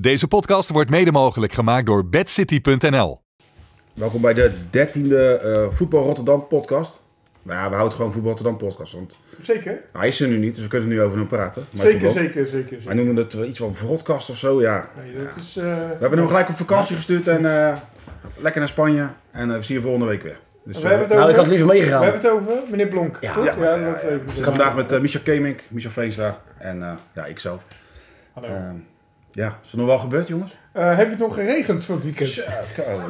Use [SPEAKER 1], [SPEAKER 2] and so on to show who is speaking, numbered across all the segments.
[SPEAKER 1] Deze podcast wordt mede mogelijk gemaakt door bedcity.nl.
[SPEAKER 2] Welkom bij de dertiende eh Voetbal Rotterdam podcast. Nou ja, we houden gewoon Voetbal Rotterdam podcast, want
[SPEAKER 3] Zeker,
[SPEAKER 2] hij is er nu niet, dus we kunnen er nu over hem praten. Maar
[SPEAKER 3] zeker,
[SPEAKER 2] Voetbal-
[SPEAKER 3] zeker, zeker,
[SPEAKER 2] Wij
[SPEAKER 3] zeker.
[SPEAKER 2] noemen het wel iets van vrotcast of zo, ja.
[SPEAKER 3] Nee,
[SPEAKER 2] Ja.
[SPEAKER 3] dat is, eh,
[SPEAKER 2] We hebben hem gelijk op vakantie gestuurd en eh, lekker naar Spanje. En eh, we zien je volgende week weer. Dus,
[SPEAKER 3] we hebben het
[SPEAKER 2] eh,
[SPEAKER 3] over.
[SPEAKER 4] Nou, ik had liever
[SPEAKER 3] we
[SPEAKER 4] meegegaan.
[SPEAKER 3] hebben het over, meneer Blonk.
[SPEAKER 4] Ja,
[SPEAKER 3] toch?
[SPEAKER 2] ja, ja,
[SPEAKER 3] dat
[SPEAKER 2] ja,
[SPEAKER 3] even
[SPEAKER 2] ik ga
[SPEAKER 3] zeggen.
[SPEAKER 2] vandaag met eh, Michel Kemink, Michel Veenstra en eh, ja, ikzelf.
[SPEAKER 3] Hallo.
[SPEAKER 2] Ehm, ja, is er nog wel gebeurd, jongens?
[SPEAKER 3] Eh, heeft het nog geregend van het weekend?
[SPEAKER 2] Zo, koude.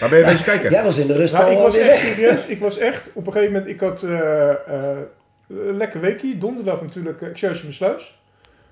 [SPEAKER 2] Waar ben je een beetje kijken?
[SPEAKER 4] Jij was in de rust
[SPEAKER 3] Nou, ik
[SPEAKER 4] al
[SPEAKER 3] was
[SPEAKER 4] weer
[SPEAKER 3] echt
[SPEAKER 4] weg.
[SPEAKER 3] serieus. Ik was echt, op een gegeven moment, ik had eh, eh, een lekker weekje. Donderdag natuurlijk uh, Excelsior Sluis.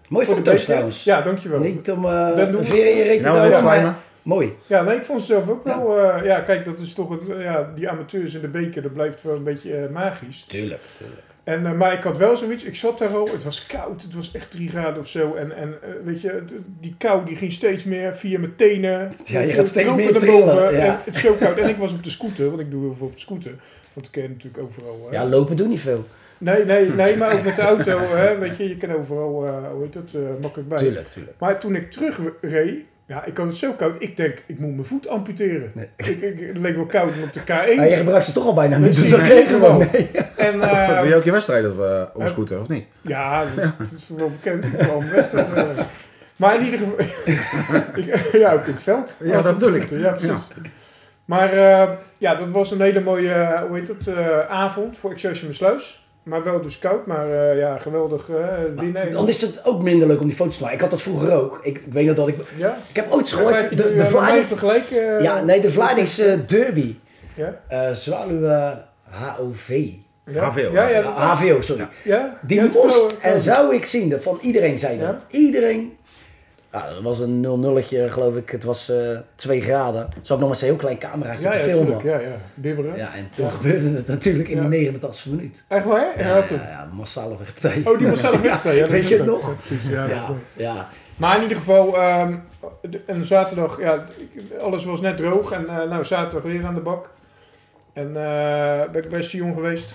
[SPEAKER 4] Mooi
[SPEAKER 3] Voor de
[SPEAKER 4] foto's
[SPEAKER 3] beker.
[SPEAKER 4] trouwens.
[SPEAKER 3] Ja, dankjewel.
[SPEAKER 4] Niet om eh
[SPEAKER 3] Dat doen
[SPEAKER 4] een
[SPEAKER 3] we.
[SPEAKER 4] veer in je reet te
[SPEAKER 2] Nou,
[SPEAKER 4] houden,
[SPEAKER 2] dit
[SPEAKER 4] maar
[SPEAKER 2] slijmen.
[SPEAKER 4] Mooi.
[SPEAKER 3] Ja, nee, ik vond het zelf ook wel... eh, ja, kijk, dat is toch... Een, ja, die amateurs in de beker, dat blijft wel een beetje eh, magisch.
[SPEAKER 4] Tuurlijk, tuurlijk.
[SPEAKER 3] En, eh, maar ik had wel zoiets, ik zat daar al, het was koud, het was echt 3 graden of zo. En, en eh, weet je, het- die kou die ging steeds meer via mijn tenen.
[SPEAKER 4] Ja, je
[SPEAKER 3] Ik
[SPEAKER 4] gaat steeds
[SPEAKER 3] kroop
[SPEAKER 4] meer
[SPEAKER 3] naar
[SPEAKER 4] trillen,
[SPEAKER 3] boven
[SPEAKER 4] ja.
[SPEAKER 3] En het is zo koud. En ik was op de scooter, want ik doe heel veel op de scooter. Want ik ken natuurlijk overal... eh,
[SPEAKER 4] Ja, lopen doen niet veel.
[SPEAKER 3] nee, nee, nee, maar ook met de auto, hè, weet je, je kan overal, eh, hoe heet dat, eh, makkelijk bij.
[SPEAKER 4] Tuurlijk, tuurlijk.
[SPEAKER 3] Maar toen ik terugreed, ja, ik had het zo koud, ik denk, ik moet mijn voet amputeren.
[SPEAKER 4] Nee. Ah,
[SPEAKER 3] Ik, ik, het leek wel koud op de K1.
[SPEAKER 4] Maar je gebruikt ze toch al bijna niet,
[SPEAKER 3] zie
[SPEAKER 4] dus dat
[SPEAKER 3] je
[SPEAKER 4] kreeg
[SPEAKER 3] gewoon.
[SPEAKER 4] gewoon. Nee.
[SPEAKER 3] En, eh,
[SPEAKER 2] Doe je ook je wedstrijd op, eh, op
[SPEAKER 3] Eh,
[SPEAKER 2] scooter, of niet?
[SPEAKER 3] Ja, dat dat is wel bekend. Ik kwam best wel, eh, Maar in ieder geval... Ik- ja, ook in het veld.
[SPEAKER 2] Ja, dat bedoel ik.
[SPEAKER 3] Ja, precies. Maar eh, ja, dat was een hele mooie eh, hoe heet het, eh, avond voor Excelsior Sluis. Maar wel dus koud, maar eh, ja, geweldig eh winnen.
[SPEAKER 4] Dan is het ook minder leuk om die foto's te maken. Ik had dat vroeger ook. Ik, ik weet nog dat ik...
[SPEAKER 3] Ja?
[SPEAKER 4] Ik heb ooit
[SPEAKER 3] Vergelijk je
[SPEAKER 4] gehoord...
[SPEAKER 3] nu,
[SPEAKER 4] De, de
[SPEAKER 3] eh, met mij
[SPEAKER 4] Vlaardings...
[SPEAKER 3] vergelijken? eh,
[SPEAKER 4] Ja, nee, de Vlaardingse derby.
[SPEAKER 3] Ja?
[SPEAKER 4] eh Zwaluwe HOV.
[SPEAKER 3] Ja?
[SPEAKER 2] HVO,
[SPEAKER 3] Ja, ja.
[SPEAKER 4] Eh, HVO, sorry.
[SPEAKER 3] ja.
[SPEAKER 4] Die
[SPEAKER 3] Ja, dat wel,
[SPEAKER 4] moest
[SPEAKER 3] eh,
[SPEAKER 4] en zou ik zien. dat Van iedereen zei dat.
[SPEAKER 3] Ja?
[SPEAKER 4] Iedereen. Ja, dat was een 0-0'tje, geloof ik. Het was eh 2 graden. Ze had nog maar zo'n heel klein cameraatje
[SPEAKER 3] Ja,
[SPEAKER 4] te
[SPEAKER 3] ja,
[SPEAKER 4] filmen.
[SPEAKER 3] tuurlijk. Ja, ja. Bibberen.
[SPEAKER 4] ja. en toen gebeurde het natuurlijk in
[SPEAKER 3] Ja.
[SPEAKER 4] de 89 minuut.
[SPEAKER 3] Echt waar? Ja,
[SPEAKER 4] Ja,
[SPEAKER 3] toen.
[SPEAKER 4] ja, ja, massale partij.
[SPEAKER 3] Oh, die was zelf weg. Ja, dat
[SPEAKER 4] weet
[SPEAKER 3] is
[SPEAKER 4] je
[SPEAKER 3] ook
[SPEAKER 4] het
[SPEAKER 3] leuk.
[SPEAKER 4] nog?
[SPEAKER 3] Ja, dat is
[SPEAKER 4] Ja,
[SPEAKER 3] leuk.
[SPEAKER 4] ja.
[SPEAKER 3] Maar in ieder geval, ehm, de- en zaterdag, ja, ik- alles was net droog. En eh, nou, zaterdag weer aan de bak. En eh ben ik bij Sion geweest.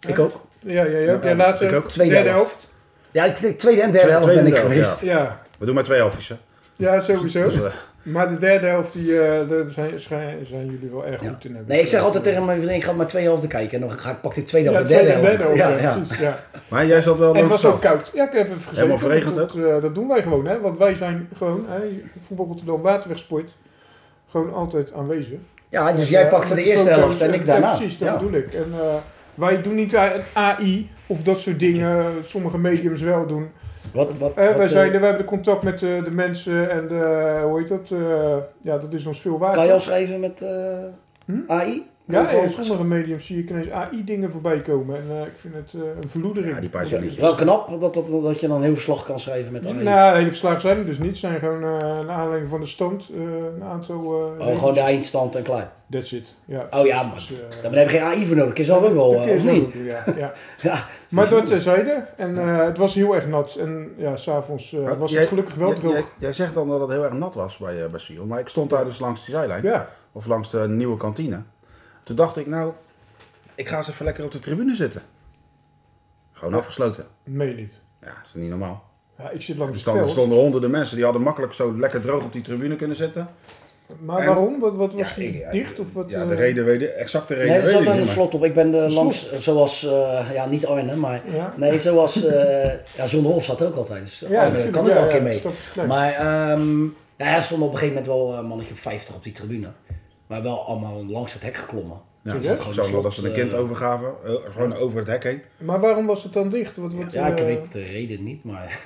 [SPEAKER 3] Eh,
[SPEAKER 4] Ik ook.
[SPEAKER 3] Ja, jij ook.
[SPEAKER 4] Ja,
[SPEAKER 3] Ja, later.
[SPEAKER 2] ik ook.
[SPEAKER 4] Tweede
[SPEAKER 3] Derde
[SPEAKER 4] helft.
[SPEAKER 3] helft.
[SPEAKER 4] Ja, ik denk tweede en derde
[SPEAKER 2] Tweede-
[SPEAKER 4] helft ben ik
[SPEAKER 2] tweede helft,
[SPEAKER 4] geweest.
[SPEAKER 3] Ja.
[SPEAKER 2] We doen maar twee helftjes, hè?
[SPEAKER 3] ja, sowieso.
[SPEAKER 2] Dus, eh,
[SPEAKER 3] Maar de derde helft, die, eh, daar zijn, zijn, zijn jullie wel erg
[SPEAKER 4] Ja.
[SPEAKER 3] goed in. heb
[SPEAKER 4] Nee, ik zeg altijd tegen mijn vriendin, ik ga maar twee helften kijken. En dan ga ik pak ik tweede
[SPEAKER 3] ja,
[SPEAKER 4] helft,
[SPEAKER 3] de
[SPEAKER 4] derde
[SPEAKER 3] tweede en
[SPEAKER 4] helft.
[SPEAKER 3] derde helft. Ja,
[SPEAKER 4] ja, ja.
[SPEAKER 3] precies. Ja.
[SPEAKER 2] maar jij zat wel
[SPEAKER 3] En het
[SPEAKER 2] langs
[SPEAKER 3] was
[SPEAKER 2] de
[SPEAKER 3] ook
[SPEAKER 2] stad.
[SPEAKER 3] koud. Ja, ik heb even gezeten.
[SPEAKER 2] Helemaal verregend
[SPEAKER 3] Dat, eh, dat doen wij gewoon, hè. Want wij zijn gewoon, hè, voetbal Rotterdam Waterwegsport, gewoon altijd aanwezig.
[SPEAKER 4] Ja, dus jij
[SPEAKER 3] Ja,
[SPEAKER 4] pakte de
[SPEAKER 3] met
[SPEAKER 4] eerste
[SPEAKER 3] foto's
[SPEAKER 4] helft en ik daarna.
[SPEAKER 3] Ja, precies, dat
[SPEAKER 4] Ja.
[SPEAKER 3] bedoel ik. En, eh, wij doen niet eh, aan AI of dat soort dingen. Sommige mediums wel doen.
[SPEAKER 4] Wat, wat,
[SPEAKER 3] Eh,
[SPEAKER 4] wat,
[SPEAKER 3] wij,
[SPEAKER 4] eh,
[SPEAKER 3] zijn, er, wij hebben de contact met eh, de mensen en de, hoe heet dat? eh, ja, dat is ons veel waard.
[SPEAKER 4] Kan je al schrijven met eh,
[SPEAKER 3] Hm?
[SPEAKER 4] AI?
[SPEAKER 3] ja,
[SPEAKER 4] Hoeveel
[SPEAKER 3] eh,
[SPEAKER 4] is-
[SPEAKER 3] sommige mediums zie ik ineens AI-dingen voorbij komen. En eh, ik vind het eh, een verloedering.
[SPEAKER 2] Ja, die paar zinnetjes.
[SPEAKER 4] Wel knap dat, dat, dat je dan een heel verslag kan schrijven met AI.
[SPEAKER 3] Nou, hele verslagen zijn er dus niet. Het zijn gewoon eh naar aanleiding van de stand eh, een aantal... eh,
[SPEAKER 4] oh,
[SPEAKER 3] regels.
[SPEAKER 4] gewoon de eindstand en klaar.
[SPEAKER 3] That's it. Ja,
[SPEAKER 4] Oh ja, maar
[SPEAKER 3] precies. Dus, eh,
[SPEAKER 4] Daar heb je geen AI voor nodig. Is zelf ook wel,
[SPEAKER 3] dat kun
[SPEAKER 4] eh,
[SPEAKER 3] je
[SPEAKER 4] of
[SPEAKER 3] zo
[SPEAKER 4] niet?
[SPEAKER 3] doen, Ja, ja.
[SPEAKER 4] Ja.
[SPEAKER 3] Maar dat terzijde. En eh, het was heel erg nat. En ja, s'avonds eh
[SPEAKER 2] Maar
[SPEAKER 3] was
[SPEAKER 2] jij-
[SPEAKER 3] het gelukkig wel
[SPEAKER 2] jij- Jij,
[SPEAKER 3] droog.
[SPEAKER 2] jij zegt dan dat het heel erg nat was bij, eh, bij Sion. Maar ik stond daar dus langs de zijlijn.
[SPEAKER 3] Ja,
[SPEAKER 2] Of langs de nieuwe kantine. Toen dacht ik, nou, ik ga eens even lekker op de tribune zitten. Gewoon afgesloten.
[SPEAKER 3] meen je niet.
[SPEAKER 2] Ja, dat is niet normaal.
[SPEAKER 3] Ja, ik zit
[SPEAKER 2] Er
[SPEAKER 3] langs het
[SPEAKER 2] stonden, er
[SPEAKER 3] veld.
[SPEAKER 2] stonden honderden mensen die hadden makkelijk zo lekker droog op die tribune kunnen zitten.
[SPEAKER 3] Maar
[SPEAKER 2] en-
[SPEAKER 3] waarom? Wat, wat was
[SPEAKER 2] Ja,
[SPEAKER 3] die
[SPEAKER 2] ik- ja,
[SPEAKER 3] dicht? Of wat,
[SPEAKER 2] Ja,
[SPEAKER 3] eh,
[SPEAKER 2] de reden weet ik, exacte reden
[SPEAKER 4] Nee, er
[SPEAKER 2] weet
[SPEAKER 4] zat
[SPEAKER 2] ik
[SPEAKER 4] daar
[SPEAKER 2] niet,
[SPEAKER 4] een
[SPEAKER 2] maar-
[SPEAKER 4] slot op. Ik ben er langs, eh, zoals, eh, ja, niet Arne, maar...
[SPEAKER 3] Ja,
[SPEAKER 4] Nee, zoals, eh ja, John Rolf zat er ook altijd. Dus Arne
[SPEAKER 3] natuurlijk.
[SPEAKER 4] kan ik
[SPEAKER 3] Ja,
[SPEAKER 4] wel een
[SPEAKER 3] ja,
[SPEAKER 4] keer
[SPEAKER 3] de
[SPEAKER 4] mee.
[SPEAKER 3] stap is klein.
[SPEAKER 4] Maar, ehm nou ja, er stonden op een gegeven moment wel een mannetje of 50 op die tribune. Maar wel allemaal langs het hek geklommen.
[SPEAKER 2] Ja,
[SPEAKER 3] Serieus?
[SPEAKER 2] het is ook zo wel dat ze een kind
[SPEAKER 4] eh,
[SPEAKER 2] overgaven, eh, gewoon over het hek heen.
[SPEAKER 3] Maar waarom was het dan dicht? Wat, wat,
[SPEAKER 4] Ja, ik
[SPEAKER 3] eh,
[SPEAKER 4] weet de reden niet, maar...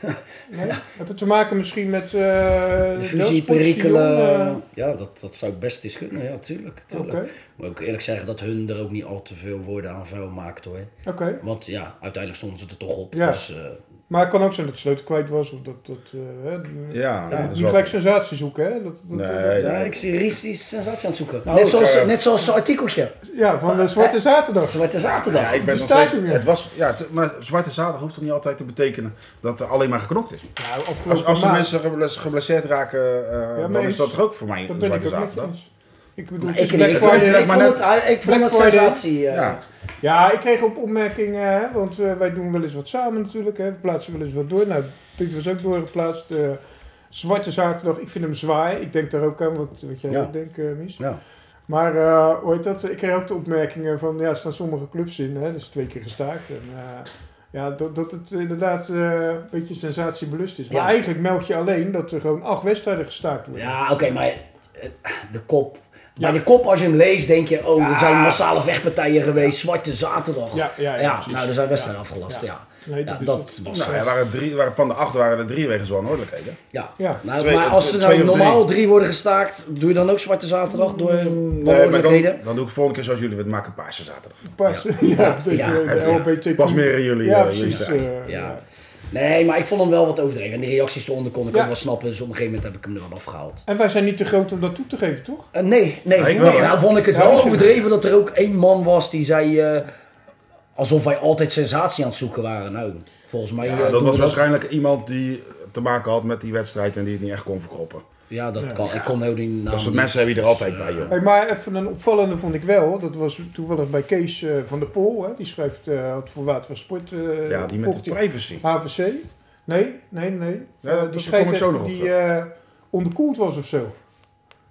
[SPEAKER 3] nee? Heb het te maken misschien met... eh
[SPEAKER 4] De
[SPEAKER 3] Delftsport,
[SPEAKER 4] fusieperikelen...
[SPEAKER 3] Sion,
[SPEAKER 4] ja, dat, dat zou best eens kunnen. Ja, tuurlijk.
[SPEAKER 3] eh,
[SPEAKER 4] tuurlijk.
[SPEAKER 3] Oké,
[SPEAKER 4] Maar ook eerlijk zeggen dat hun er ook niet al te veel woorden aan vuil maakt hoor.
[SPEAKER 3] oké.
[SPEAKER 4] Want ja, uiteindelijk stonden ze er toch op.
[SPEAKER 3] Ja.
[SPEAKER 4] Dus, eh,
[SPEAKER 3] Maar het kan ook zijn dat de sleutel kwijt was. Of dat, dat, eh, hè,
[SPEAKER 2] Ja,
[SPEAKER 4] Ja,
[SPEAKER 2] dat is
[SPEAKER 3] niet
[SPEAKER 2] wel-
[SPEAKER 3] gelijk sensatie zoeken, hè? Dat, dat, eh,
[SPEAKER 2] Nee,
[SPEAKER 3] dat-
[SPEAKER 4] ja, ik zie Ries die sensatie aan het zoeken.
[SPEAKER 2] Nou,
[SPEAKER 4] net, zoals,
[SPEAKER 2] eh,
[SPEAKER 4] net zoals zijn artikeltje.
[SPEAKER 3] ja, van de Zwarte Zaterdag.
[SPEAKER 4] Zwarte
[SPEAKER 2] Ja,
[SPEAKER 4] Zaterdag.
[SPEAKER 2] ik ben
[SPEAKER 3] Die
[SPEAKER 2] nog
[SPEAKER 3] staat
[SPEAKER 2] steeds,
[SPEAKER 3] er weer.
[SPEAKER 2] het was, ja, het- maar Zwarte Zaterdag hoeft toch niet altijd te betekenen dat er alleen maar geknokt is.
[SPEAKER 3] Nou, afgelopen
[SPEAKER 2] Als, als de
[SPEAKER 3] maand.
[SPEAKER 2] mensen geble- geblesseerd raken, eh,
[SPEAKER 3] maar
[SPEAKER 2] dan is
[SPEAKER 3] eens-
[SPEAKER 2] dat toch ook voor mij
[SPEAKER 3] Dat
[SPEAKER 2] een
[SPEAKER 3] ben
[SPEAKER 2] Zwarte
[SPEAKER 3] ik ook niet
[SPEAKER 2] Zaterdag.
[SPEAKER 3] eens. Ik bedoel,
[SPEAKER 4] Maar
[SPEAKER 3] het is
[SPEAKER 4] ik, ik,
[SPEAKER 3] Black
[SPEAKER 4] ik, vond
[SPEAKER 3] Friday.
[SPEAKER 4] het, ik
[SPEAKER 2] maar
[SPEAKER 4] vond
[SPEAKER 2] net-
[SPEAKER 4] het, ah, ik vond
[SPEAKER 3] Black
[SPEAKER 4] het
[SPEAKER 3] Friday.
[SPEAKER 4] sensatie. eh,
[SPEAKER 2] Ja.
[SPEAKER 3] Ja, ik kreeg op opmerkingen, hè, want eh, wij doen wel eens wat samen natuurlijk. Hè, we plaatsen wel eens wat door. Nou, dit was ook doorgeplaatst. eh Zwarte zaterdag, ik vind hem zwaar. Ik denk daar ook aan, wat, wat jij
[SPEAKER 4] Ja.
[SPEAKER 3] ook denkt, eh, Mies.
[SPEAKER 4] Ja.
[SPEAKER 3] Maar eh hoe heet dat? Ik kreeg ook de opmerkingen van, ja, er staan sommige clubs in, hè, dus twee keer gestaakt. En, eh, ja, dat, dat het inderdaad eh, een beetje sensatiebelust is. Maar
[SPEAKER 4] Ja.
[SPEAKER 3] eigenlijk meld je alleen dat er gewoon acht wedstrijden gestaakt worden.
[SPEAKER 4] Ja, oké, maar eh, de kop. Bij
[SPEAKER 3] Ja.
[SPEAKER 4] de kop, als je hem leest, denk je, oh, het zijn massale vechtpartijen geweest, Zwarte Zaterdag.
[SPEAKER 3] Ja, ja, ja, precies.
[SPEAKER 4] nou, er zijn wedstrijden afgelast, ja.
[SPEAKER 3] Ja.
[SPEAKER 4] Ja,
[SPEAKER 3] Nee, dat is
[SPEAKER 4] dat
[SPEAKER 3] het.
[SPEAKER 4] was
[SPEAKER 2] Nou,
[SPEAKER 4] het.
[SPEAKER 2] er waren drie, waren, van de acht waren er drie wegens onhoorlijkheden.
[SPEAKER 4] Ja.
[SPEAKER 3] Ja.
[SPEAKER 4] Maar,
[SPEAKER 2] Twee-
[SPEAKER 4] maar als er
[SPEAKER 2] twee
[SPEAKER 4] nou
[SPEAKER 2] of drie.
[SPEAKER 4] normaal drie. worden gestaakt, doe je dan ook Zwarte Zaterdag
[SPEAKER 3] Mm,
[SPEAKER 4] door
[SPEAKER 2] Nee, Eh, maar
[SPEAKER 4] mogelijkheden?
[SPEAKER 2] dan, dan doe ik volgende keer zoals jullie met maken Paarse zaterdag.
[SPEAKER 3] Pas, ja, dat is
[SPEAKER 4] Ja,
[SPEAKER 3] de- de
[SPEAKER 2] ja.
[SPEAKER 3] LHBTQ.
[SPEAKER 2] Pas meer in jullie,
[SPEAKER 3] Ja,
[SPEAKER 2] eh,
[SPEAKER 3] precies.
[SPEAKER 2] jullie strijd.
[SPEAKER 3] eh,
[SPEAKER 4] Ja.
[SPEAKER 3] ja.
[SPEAKER 4] Nee, maar ik vond hem wel wat overdreven. En de reacties eronder kon ik
[SPEAKER 3] Ja.
[SPEAKER 4] ook wel snappen, dus op een gegeven moment heb ik hem er wel afgehaald.
[SPEAKER 3] En wij zijn niet te groot om dat toe te geven, toch?
[SPEAKER 4] Eh, nee, nee.
[SPEAKER 2] Ja, ik
[SPEAKER 4] nee,
[SPEAKER 2] wel, hè?
[SPEAKER 4] nou vond ik het
[SPEAKER 3] Ja,
[SPEAKER 4] wel
[SPEAKER 3] ik ook.
[SPEAKER 4] overdreven dat er ook één man was die zei... eh, alsof wij altijd sensatie aan het zoeken waren. Nou, volgens mij... eh,
[SPEAKER 2] Ja, dat
[SPEAKER 4] doen
[SPEAKER 2] was
[SPEAKER 4] we
[SPEAKER 2] waarschijnlijk iemand die te maken had met die wedstrijd en die het niet echt kon verkroppen.
[SPEAKER 4] Ja, dat kan. Ik kon heel die naam
[SPEAKER 2] Dat soort
[SPEAKER 4] niet.
[SPEAKER 2] mensen hebben je er altijd bij, joh.
[SPEAKER 3] Hey, maar even een opvallende vond ik wel. Dat was toevallig bij Kees eh, van der Pol. Hè? Die schrijft eh, had voor Water van Sport. eh,
[SPEAKER 2] Ja, die
[SPEAKER 3] volgt
[SPEAKER 2] met de privacy.
[SPEAKER 3] HVC. Nee, nee, nee.
[SPEAKER 2] Ja,
[SPEAKER 3] Eh,
[SPEAKER 2] dat-
[SPEAKER 3] die
[SPEAKER 2] daar
[SPEAKER 3] schreef
[SPEAKER 2] kom ik zo
[SPEAKER 3] echt
[SPEAKER 2] nog op
[SPEAKER 3] die
[SPEAKER 2] terug.
[SPEAKER 3] eh, onderkoeld was of zo.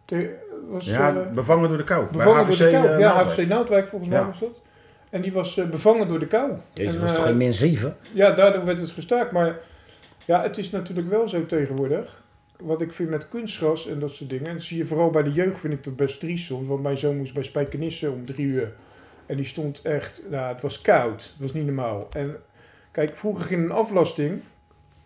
[SPEAKER 3] Te- was,
[SPEAKER 2] Ja,
[SPEAKER 3] eh,
[SPEAKER 2] bevangen door de kou. Bij
[SPEAKER 3] bevangen door de kou.
[SPEAKER 2] eh,
[SPEAKER 3] ja,
[SPEAKER 2] Naaldwijk.
[SPEAKER 3] HVC Naaldwijk volgens mij
[SPEAKER 2] Ja.
[SPEAKER 3] was dat. En die was eh, bevangen door de kou.
[SPEAKER 4] Jezus,
[SPEAKER 3] En,
[SPEAKER 4] dat was toch
[SPEAKER 3] eh,
[SPEAKER 4] geen min 7?
[SPEAKER 3] Ja, daardoor werd het gestaakt. Maar ja, het is natuurlijk wel zo tegenwoordig. Wat ik vind met kunstgras en dat soort dingen. En dat zie je vooral bij de jeugd vind ik dat best triest soms. Want mijn zoon moest bij Spijkenisse om drie uur. En die stond echt... Nou, het was koud. Het was niet normaal. En kijk, vroeger ging een aflasting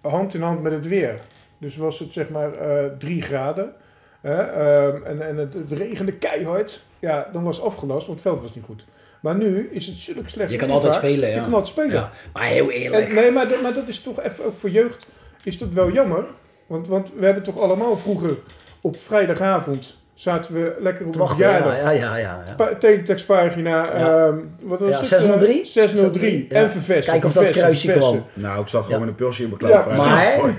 [SPEAKER 3] hand in hand met het weer. Dus was het zeg maar eh drie graden. hè, ehm, en en het, het regende keihard. Ja, dan was het afgelast, want het veld was niet goed. Maar nu is het zulk slecht
[SPEAKER 4] Je kan
[SPEAKER 3] weer
[SPEAKER 4] altijd
[SPEAKER 3] daar.
[SPEAKER 4] spelen, ja.
[SPEAKER 3] Je kan altijd spelen.
[SPEAKER 4] Ja, maar heel eerlijk.
[SPEAKER 3] En- nee, maar, dat- maar dat is toch even, ook voor jeugd, is dat wel jammer. Want, want we hebben toch allemaal vroeger op vrijdagavond zaten we lekker op
[SPEAKER 4] Te
[SPEAKER 3] de
[SPEAKER 4] wachten, ja,
[SPEAKER 3] verjaardag.
[SPEAKER 4] ja, ja, ja, ja.
[SPEAKER 3] Pa- Teletextpagina,
[SPEAKER 4] Ja.
[SPEAKER 3] ehm, wat was
[SPEAKER 4] Ja,
[SPEAKER 3] het? Eh,
[SPEAKER 4] 603?
[SPEAKER 3] 603.
[SPEAKER 4] Ja.
[SPEAKER 3] En vervesten.
[SPEAKER 4] Kijken of dat
[SPEAKER 3] vervesten,
[SPEAKER 4] kruisje
[SPEAKER 3] vervesten.
[SPEAKER 2] Nou, ik zag
[SPEAKER 4] Ja.
[SPEAKER 2] gewoon een pilsje in mijn klauw.
[SPEAKER 3] Ja,
[SPEAKER 4] Maar,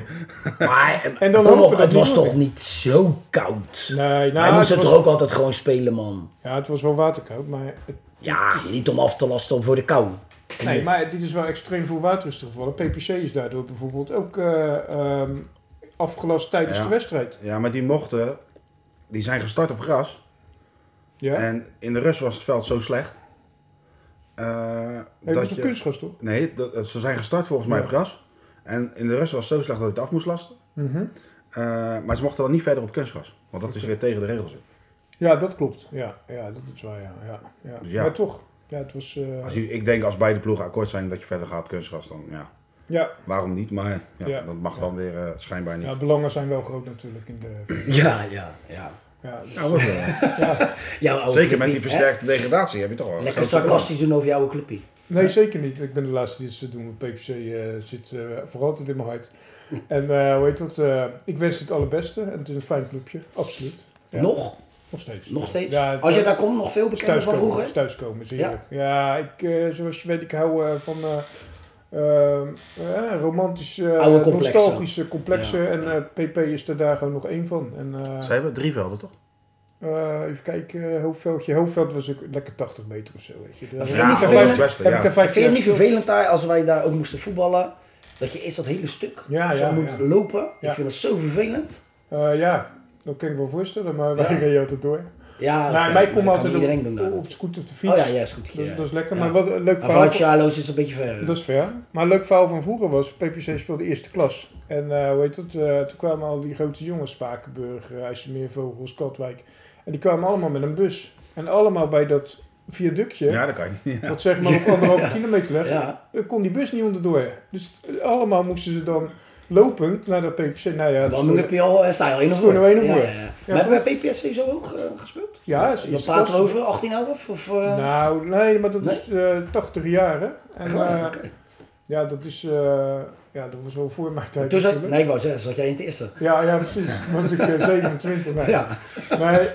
[SPEAKER 4] maar
[SPEAKER 3] En dan
[SPEAKER 4] kom
[SPEAKER 3] hopen
[SPEAKER 4] op,
[SPEAKER 3] dat
[SPEAKER 4] het
[SPEAKER 3] die
[SPEAKER 4] was
[SPEAKER 3] jongen-
[SPEAKER 4] toch niet zo koud?
[SPEAKER 3] Nee, nou,
[SPEAKER 4] Hij moest
[SPEAKER 3] het, was,
[SPEAKER 4] het toch ook altijd gewoon spelen, man.
[SPEAKER 3] ja, het was wel waterkoud, maar... het-
[SPEAKER 4] Ja, niet om af te lasten voor de kou.
[SPEAKER 3] nee, maar dit is wel extreem veel water is er gevallen. PPC is daardoor bijvoorbeeld ook eh, ehm, afgelast tijdens
[SPEAKER 2] Ja.
[SPEAKER 3] de wedstrijd.
[SPEAKER 2] Ja, maar die mochten, die zijn gestart op gras.
[SPEAKER 3] Ja?
[SPEAKER 4] Eh,
[SPEAKER 2] En in de rust was het veld zo slecht. eh,
[SPEAKER 3] Hey, dat
[SPEAKER 2] dat
[SPEAKER 3] is
[SPEAKER 2] je...
[SPEAKER 3] een kunstgras, toch?
[SPEAKER 2] Nee, dat, ze zijn gestart volgens mij
[SPEAKER 3] Ja.
[SPEAKER 2] op gras. En in de rust was het zo slecht dat het af moest lasten.
[SPEAKER 3] Mhm.
[SPEAKER 2] Eh, maar ze mochten dan niet verder op kunstgras. Want dat is weer tegen de regels. in.
[SPEAKER 3] Ja, dat klopt. Ja, ja dat is waar. Ja, ja, ja.
[SPEAKER 2] Dus ja.
[SPEAKER 3] Maar toch, ja, het was. eh,
[SPEAKER 2] Als je, ik denk als beide ploegen akkoord zijn dat je verder gaat op kunstgras, dan ja,
[SPEAKER 3] ja,
[SPEAKER 2] waarom niet? Maar ja,
[SPEAKER 3] Ja.
[SPEAKER 2] dat mag dan weer eh, schijnbaar niet.
[SPEAKER 3] ja, belangen zijn wel groot natuurlijk. In de,
[SPEAKER 4] Ja, ja, ja.
[SPEAKER 3] ja, dus-
[SPEAKER 2] Nou, dat wel.
[SPEAKER 4] Jouw oude
[SPEAKER 2] Zeker met
[SPEAKER 4] clubpie,
[SPEAKER 2] die
[SPEAKER 4] hè?
[SPEAKER 2] versterkte degradatie heb je toch wel.
[SPEAKER 4] Lekker sarcastisch doen over jouw oude clubpie.
[SPEAKER 3] nee, zeker niet. Ik ben de laatste die het te doen. Want PPC eh, zit eh, voor altijd in mijn hart. En eh, hoe heet dat? eh, ik wens het allerbeste. En het is een fijn clubje. Absoluut. Ja.
[SPEAKER 4] Nog?
[SPEAKER 3] Nog steeds.
[SPEAKER 4] Nog steeds?
[SPEAKER 3] Ja,
[SPEAKER 4] Als je daar komt, nog veel
[SPEAKER 3] is
[SPEAKER 4] bekender van
[SPEAKER 3] thuiskomen.
[SPEAKER 4] vroeger?
[SPEAKER 3] is thuiskomen is
[SPEAKER 4] Ja.
[SPEAKER 3] heerlijk. Ja, ik, eh, zoals je weet, ik hou eh, van eh, eh, eh, romantische, eh,
[SPEAKER 4] Oude complexen.
[SPEAKER 3] nostalgische complexen.
[SPEAKER 4] Ja.
[SPEAKER 3] En eh, PP is er daar gewoon nog één van. En, eh,
[SPEAKER 2] Ze hebben drie velden toch?
[SPEAKER 3] Eh, even kijken, eh, Hoofdveldje. Hoofdveld was ook lekker 80 meter of zo, weet je. Daar heb
[SPEAKER 4] Vind je
[SPEAKER 3] ik
[SPEAKER 4] niet
[SPEAKER 3] daar
[SPEAKER 4] vervelend?
[SPEAKER 3] vijf-
[SPEAKER 2] Westen,
[SPEAKER 3] heb
[SPEAKER 2] ja.
[SPEAKER 3] ik daar vijf
[SPEAKER 4] Vind je het niet
[SPEAKER 3] jaar
[SPEAKER 4] vervelend daar, als wij daar ook moesten voetballen, dat je eerst dat hele stuk
[SPEAKER 3] Ja,
[SPEAKER 4] zo
[SPEAKER 3] ja,
[SPEAKER 4] moet
[SPEAKER 3] ja.
[SPEAKER 4] lopen? Ik
[SPEAKER 3] Ja.
[SPEAKER 4] vind dat zo vervelend.
[SPEAKER 3] gespeeld. Eh, ja, dat kan ik wel voorstellen, maar wij
[SPEAKER 4] Ja.
[SPEAKER 3] reden altijd door.
[SPEAKER 4] Ja,
[SPEAKER 3] nou, mij
[SPEAKER 4] oké, maar
[SPEAKER 3] komt
[SPEAKER 4] dat
[SPEAKER 3] altijd
[SPEAKER 4] kan iedereen
[SPEAKER 3] op,
[SPEAKER 4] doen daar.
[SPEAKER 3] op de scooter of de fiets. Dus-
[SPEAKER 4] Oh ja, ja, is goed.
[SPEAKER 3] Dat, is-
[SPEAKER 4] ja.
[SPEAKER 3] dat is lekker,
[SPEAKER 4] Ja.
[SPEAKER 3] maar wat een leuk
[SPEAKER 4] Maar vanuit
[SPEAKER 3] verhaal.
[SPEAKER 4] Charlo's is het een beetje ver.
[SPEAKER 3] Dat is ver. Maar een leuk verhaal van vroeger was, PPC speelde eerste klas. En eh, hoe heet dat, eh, toen kwamen al die grote jongens, Spakenburg, eh, IJsselmeervogels, Katwijk. En die kwamen allemaal met een bus. En allemaal bij dat viaductje,
[SPEAKER 2] Ja, dat kan je niet.
[SPEAKER 3] dat zeg maar op anderhalve kilometer legt.
[SPEAKER 4] ja,
[SPEAKER 3] Er kon die bus niet onderdoor. Dus t- allemaal moesten ze dan lopend naar dat PPC. Nou ja, dat is
[SPEAKER 4] dan heb je al, eh, sta je al één of
[SPEAKER 3] Toen
[SPEAKER 4] voor.
[SPEAKER 3] al één of
[SPEAKER 4] Ja,
[SPEAKER 3] voor.
[SPEAKER 4] ja, ja.
[SPEAKER 3] Ja,
[SPEAKER 4] Maar hebben wij PPSC zo ook eh, gespeeld?
[SPEAKER 3] ja, dat is
[SPEAKER 4] Dan
[SPEAKER 3] eerste
[SPEAKER 4] praten
[SPEAKER 3] klas.
[SPEAKER 4] we over 18,5 of... eh
[SPEAKER 3] Nou, nee, maar dat
[SPEAKER 4] Nee?
[SPEAKER 3] is eh 80 jaar, hè? En,
[SPEAKER 4] gewoon,
[SPEAKER 3] eh,
[SPEAKER 4] oké.
[SPEAKER 3] ja, dat is... eh, ja, dat was wel voor mijn tijd.
[SPEAKER 4] Toen zat,
[SPEAKER 3] natuurlijk.
[SPEAKER 4] nee, ik wou zeggen, zat jij in het eerste?
[SPEAKER 3] Ja, ja, precies. Toen was ik eh, 27. Nee.
[SPEAKER 4] Ja.
[SPEAKER 3] Nee. eh,